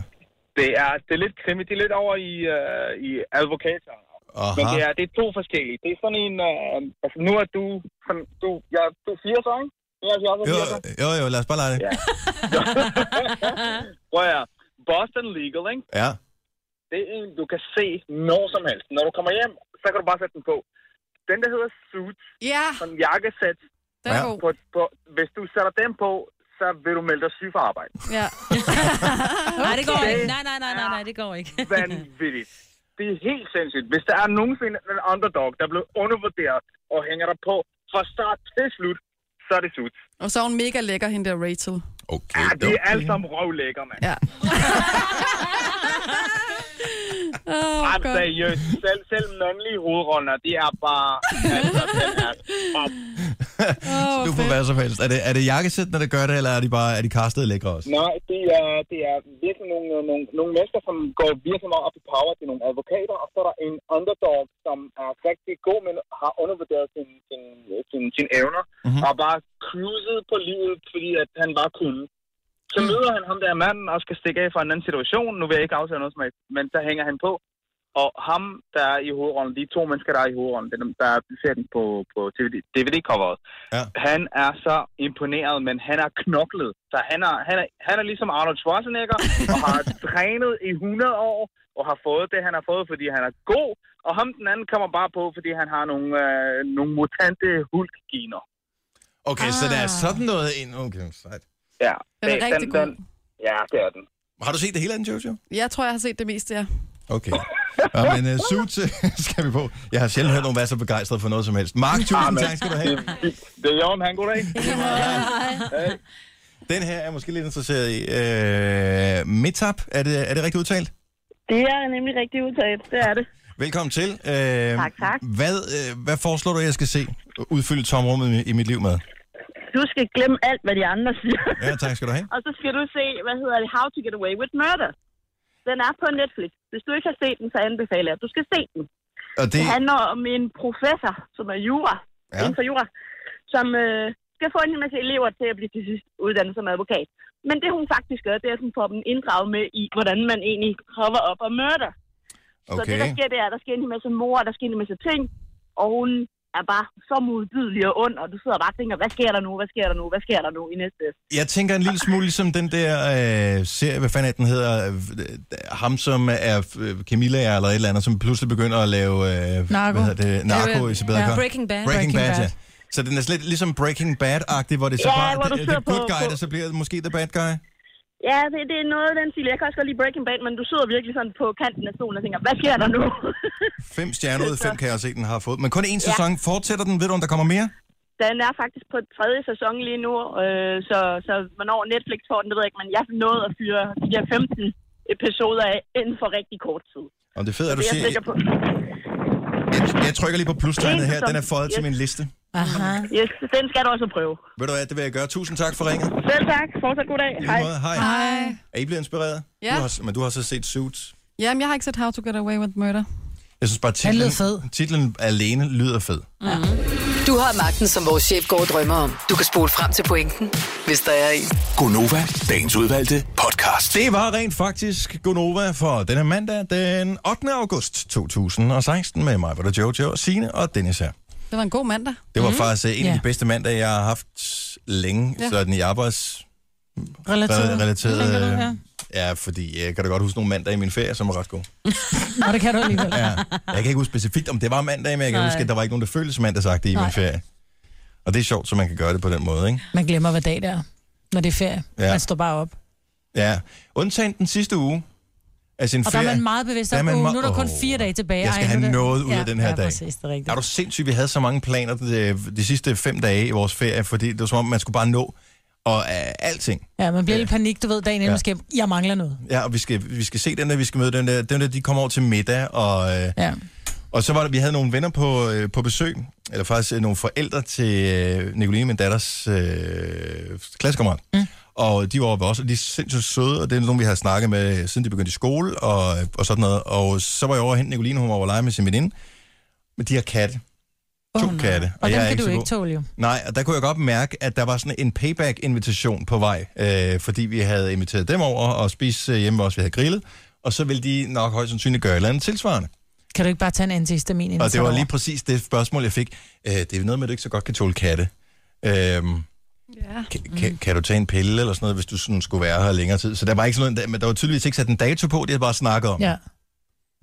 O: Det er, det er lidt krimi. Det er lidt over i, øh, i advokater.
A: Aha.
O: Men det er, det er to forskellige. Det er sådan en... Øh, altså, nu er du... Sådan, du, ja, du er 80 år, ikke? Ja, jeg er
A: Jo,
O: 80 år.
A: jo, jo, lad os bare lege det. Ja.
O: Prøv at høre. Boston Legal, ikke?
A: ja.
O: Det er en, du kan se når som helst. Når du kommer hjem, så kan du bare sætte den på. Den, der hedder Suits,
F: ja.
O: som jakkesæt,
F: Den er Ja. god.
O: på, på, hvis du sætter den på, så vil du melde dig syg for arbejde.
F: Ja.
E: Nej, det går
O: Okay.
E: ikke. Nej, nej, nej, nej, nej, det går ikke.
O: vanvittigt. Det er helt sindssygt. Hvis der er nogensinde en underdog, der er blevet undervurderet og hænger dig på fra start til slut, så er det suits.
F: Og så er hun mega lækker, hende der Rachel.
A: Okay,
O: ja, de er alle sammen røvlækker, mand.
F: Ja.
O: Oh, Ret seriøst. Selv, selv mandlige hovedroller, de er bare... Altså, den er top.
A: Så du får hvad som helst. Er det, er det jakkesættene, der gør det, eller er de bare er de castet lækre også?
O: Nej, det er, det er virkelig nogle, nogle, nogle mennesker, som går virkelig meget op i power. Det er nogle advokater, og så er der en underdog, som er rigtig god, men har undervurderet sine sin, sin, sin evner. Mm-hmm. Og bare cruiset på livet, fordi at han bare kunne. Så møder han ham der manden og skal stikke af fra en anden situation. Nu vil jeg ikke afsløre noget som helst, men så hænger han på. Og ham, der er i hovedrollen, de to mennesker, der er i hovedrollen, det er dem, der ser den på, på DVD-coveret.
A: Ja.
O: Han er så imponeret, men han er knoklet. Så han er, han er, han er ligesom Arnold Schwarzenegger, og har trænet i 100 år, og har fået det, han har fået, fordi han er god. Og ham den anden kommer bare på, fordi han har nogle, øh, nogle mutante hulkgener.
A: Okay, ah. så der er sådan noget ind. Okay, sejt.
O: Ja,
F: Den er rigtig god.
O: ja, det er den.
A: Har du set det hele af den, Jojo?
F: Jeg tror, jeg har set det meste, ja.
A: Okay. Ja, men uh, suits øh, skal vi på. Jeg har sjældent hørt nogen være så begejstret for noget som helst. Mark, tusind
O: Amen.
A: tak skal du have.
O: Det er Jørgen, han goddag.
A: Den her er måske lidt interesseret i. Øh, Mitap, er det, er det rigtigt udtalt?
P: Det er nemlig rigtig udtalt, det er det.
A: Velkommen til. Øh,
P: Tak, tak.
A: Hvad, øh, hvad foreslår du, jeg skal se udfylde tomrummet i- i mit liv med?
P: Du skal glemme alt, hvad de andre siger.
A: Ja, tak skal du have.
P: Og så skal du se, hvad hedder det, How to Get Away with Murder. Den er på Netflix. Hvis du ikke har set den, så anbefaler jeg, at du skal se den.
A: Og
P: Det
A: det,
P: handler om en professor, som er jura,
A: Ja.
P: ja. inden for jura, som øh, skal få en hel masse elever til at blive til sidst uddannet som advokat. Men det hun faktisk gør, det er, at hun får dem inddraget med i, hvordan man egentlig cover op og murder. Så det,
A: okay.
P: der sker, det er, at der sker en hel masse mor, der sker en hel masse ting, og hun er bare så modbydelig og ond, og du sidder bare og tænker, hvad sker der nu, hvad sker der nu, hvad sker der nu i næste...
A: Jeg tænker en lille smule ligesom den der øh, serie, hvad fanden er den hedder, øh, ham som er øh, Camilla eller et eller andet, som pludselig begynder at lave øh,
C: Narko.
A: Hvad hedder det, narko
C: Ja,
A: i sit bedre
C: ja.
A: kar.
C: Breaking Bad.
A: Breaking
C: Breaking
A: Bad,
C: Bad.
A: ja. Så den er lidt ligesom Breaking Bad-agtig, hvor det er så
P: Ja,
A: bare
P: hvor du
A: the, the
P: sidder på-
A: good guy,
P: på-
A: der så bliver måske the bad guy.
P: Ja, det, det er noget af den stil. Jeg kan også godt lide Breaking Bad, men du sidder virkelig sådan på kanten af stolen og tænker, hvad sker der nu?
A: Fem stjerner ud af fem, kan jeg se, den har fået. Men kun én sæson. Fortsætter den? Ved du, om der kommer mere?
P: den er faktisk på tredje sæson lige nu, øh, så, så hvornår Netflix får den, det ved jeg ikke, men jeg nåede at fyre de her 15 episoder af inden for rigtig kort tid.
A: Og det fede er,
P: Så
A: du
P: det er jeg
A: siger...
P: sikker på.
A: Jeg, jeg trykker lige på plustegnet
P: En
A: her. Den er
P: sæson.
A: føjet til
P: Yes.
A: min liste.
P: Aha. Yes, den skal du også prøve.
A: Ved du hvad, det vil jeg gøre. Tusind tak for ringet.
P: Selv tak. Fortsat god dag.
A: Hej. Måde, hej.
F: Hej.
A: Er I blevet inspireret?
F: Ja.
A: Du har, men du har så set Suits.
F: Jamen, jeg har ikke set How to Get Away with Murder.
A: Jeg synes bare,
F: Den lyder
A: titlen, titlen alene lyder fed.
B: Du har magten, som vores chef går og drømmer om. Du kan spole frem til pointen, hvis der er en.
G: Gonova, dagens udvalgte podcast.
A: Det var rent faktisk Gonova for denne mandag den 8. august 2016 med mig, hvor der Jojo, Signe og Dennis her.
F: Det var en god mandag.
A: Det
C: Mhm.
A: var mm. faktisk øh, en af
F: Ja.
A: de bedste mandage, jeg har haft længe,
F: Ja.
A: ja. sådan i arbejds...
C: Relateret,
A: relateret
C: tænker du,
A: øh,
C: ja.
A: ja, fordi jeg kan da godt huske nogle mandage i min ferie, som var ret gode.
C: Og det kan du alligevel.
A: Ja. Jeg kan ikke huske specifikt, om det var mandag, men jeg kan Nej.
C: Nej.
A: huske, at der var ikke nogen, der følte som mandagsagtigt i
C: Nej.
A: min ferie. Og det er sjovt, så man kan gøre det på den måde, ikke?
C: Man glemmer, hvad dag det er, når det er ferie.
A: Ja.
C: Ja. Man står bare op.
A: Ja. Undtagen den sidste uge af sin
C: Og der
A: ferie.
C: er man meget bevidst om,
A: man
C: "Uh,
A: meget-
C: nu er der kun
A: Åh,
C: fire dage tilbage.
A: Jeg skal
C: Ej, nu
A: have
C: er det-
A: noget ud
C: Ja,
A: af den her
C: ja,
A: dag.
C: Præcis, det er rigtigt.
A: Er du sindssygt, vi havde så mange planer de, de sidste fem dage i vores ferie, fordi det var som om, man skulle bare nå og uh, alting.
C: Ja, man bliver lidt panik, du ved, dagen inden
A: Ja.
C: ja. måske, jeg mangler noget.
A: Ja, og vi skal, vi skal se den der, vi skal møde den der, den der, de kommer over til middag, og, øh,
C: ja.
A: og så var der, vi havde nogle venner på, øh, på besøg, eller faktisk øh, nogle forældre til øh, Nicoline, min datters øh, klassekammerat. Mm. Og de var oppe også, og de er sindssygt søde, og det er nogen, vi har snakket med, siden de begyndte i skole, og, og sådan noget. Og så var jeg over og hente Nicoline, hun var over at lege med sin veninde, men de har katte. To oh, katte.
C: Og, og
A: jeg
C: den
A: er
C: kan du
A: så
C: ikke
A: god.
C: tåle jo.
A: Nej, og der kunne jeg godt mærke, at der var sådan en payback-invitation på vej, øh, fordi vi havde inviteret dem over og spise øh, hjemme også, vi havde grillet, og så ville de nok højst sandsynligt gøre et eller andet tilsvarende.
C: Kan du ikke bare tage en antihistamin inden
A: Og
C: du
A: det var
C: tager
A: lige
C: over?
A: præcis det spørgsmål, jeg fik. Øh, det er noget med, at du ikke så godt kan tåle katte. Øhm,
F: Ja. Mm.
A: kan, kan du tage en pille eller sådan noget, hvis du sådan skulle være her længere tid? Så der var ikke sådan noget, men der var tydeligvis ikke sat en dato på, det havde bare snakket om ja.
C: Ja.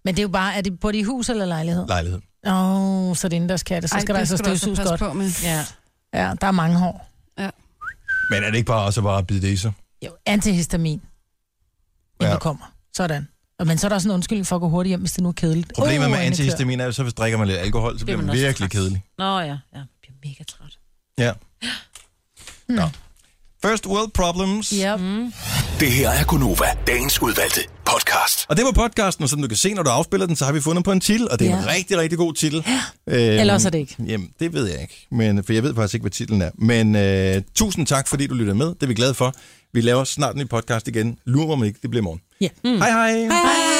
C: Men det er jo bare, er det på dit hus eller lejlighed?
A: lejlighed.
C: Åh, oh, så det er indendørs katte, så
F: Ej,
C: skal der
F: det
C: altså
F: skal du altså
C: støvsuges
F: passe
C: godt.
F: på med.
C: Ja. ja, der er mange hår.
A: Men er det ikke bare også bare at bide det i sig?
C: Jo, antihistamin, inden
A: Ja.
C: ja. du kommer. Sådan. Og Men så er der også en undskyldning for at gå hurtigt hjem, hvis det nu er kedeligt.
A: Problemet
C: Åh,
A: med
C: Anne klør.
A: antihistamin er jo, så hvis drikker man lidt alkohol, så
C: Bliver
A: bliver man
C: man også
A: virkelig kedelig.
E: Nå ja, ja, jeg bliver mega træt.
A: Ja. Mm. Nå. First world problems.
C: Yep. Mm.
G: Det her er Gunova, dagens udvalgte podcast.
A: Og det var podcasten, og som du kan se, når du afspiller den, så har vi fundet på en titel, og det er en
C: Ja.
A: rigtig, rigtig god titel. Øhm,
C: Eller også er det ikke.
A: Jamen, det ved jeg ikke, men, for jeg ved faktisk ikke, hvad titlen er. Men øh, tusind tak, fordi du lytter med. Det er vi glade for. Vi laver snart en ny podcast igen. Lurer mig ikke, det bliver i morgen.
C: Ja.
A: Mm. Hej hej.
C: Hej hej.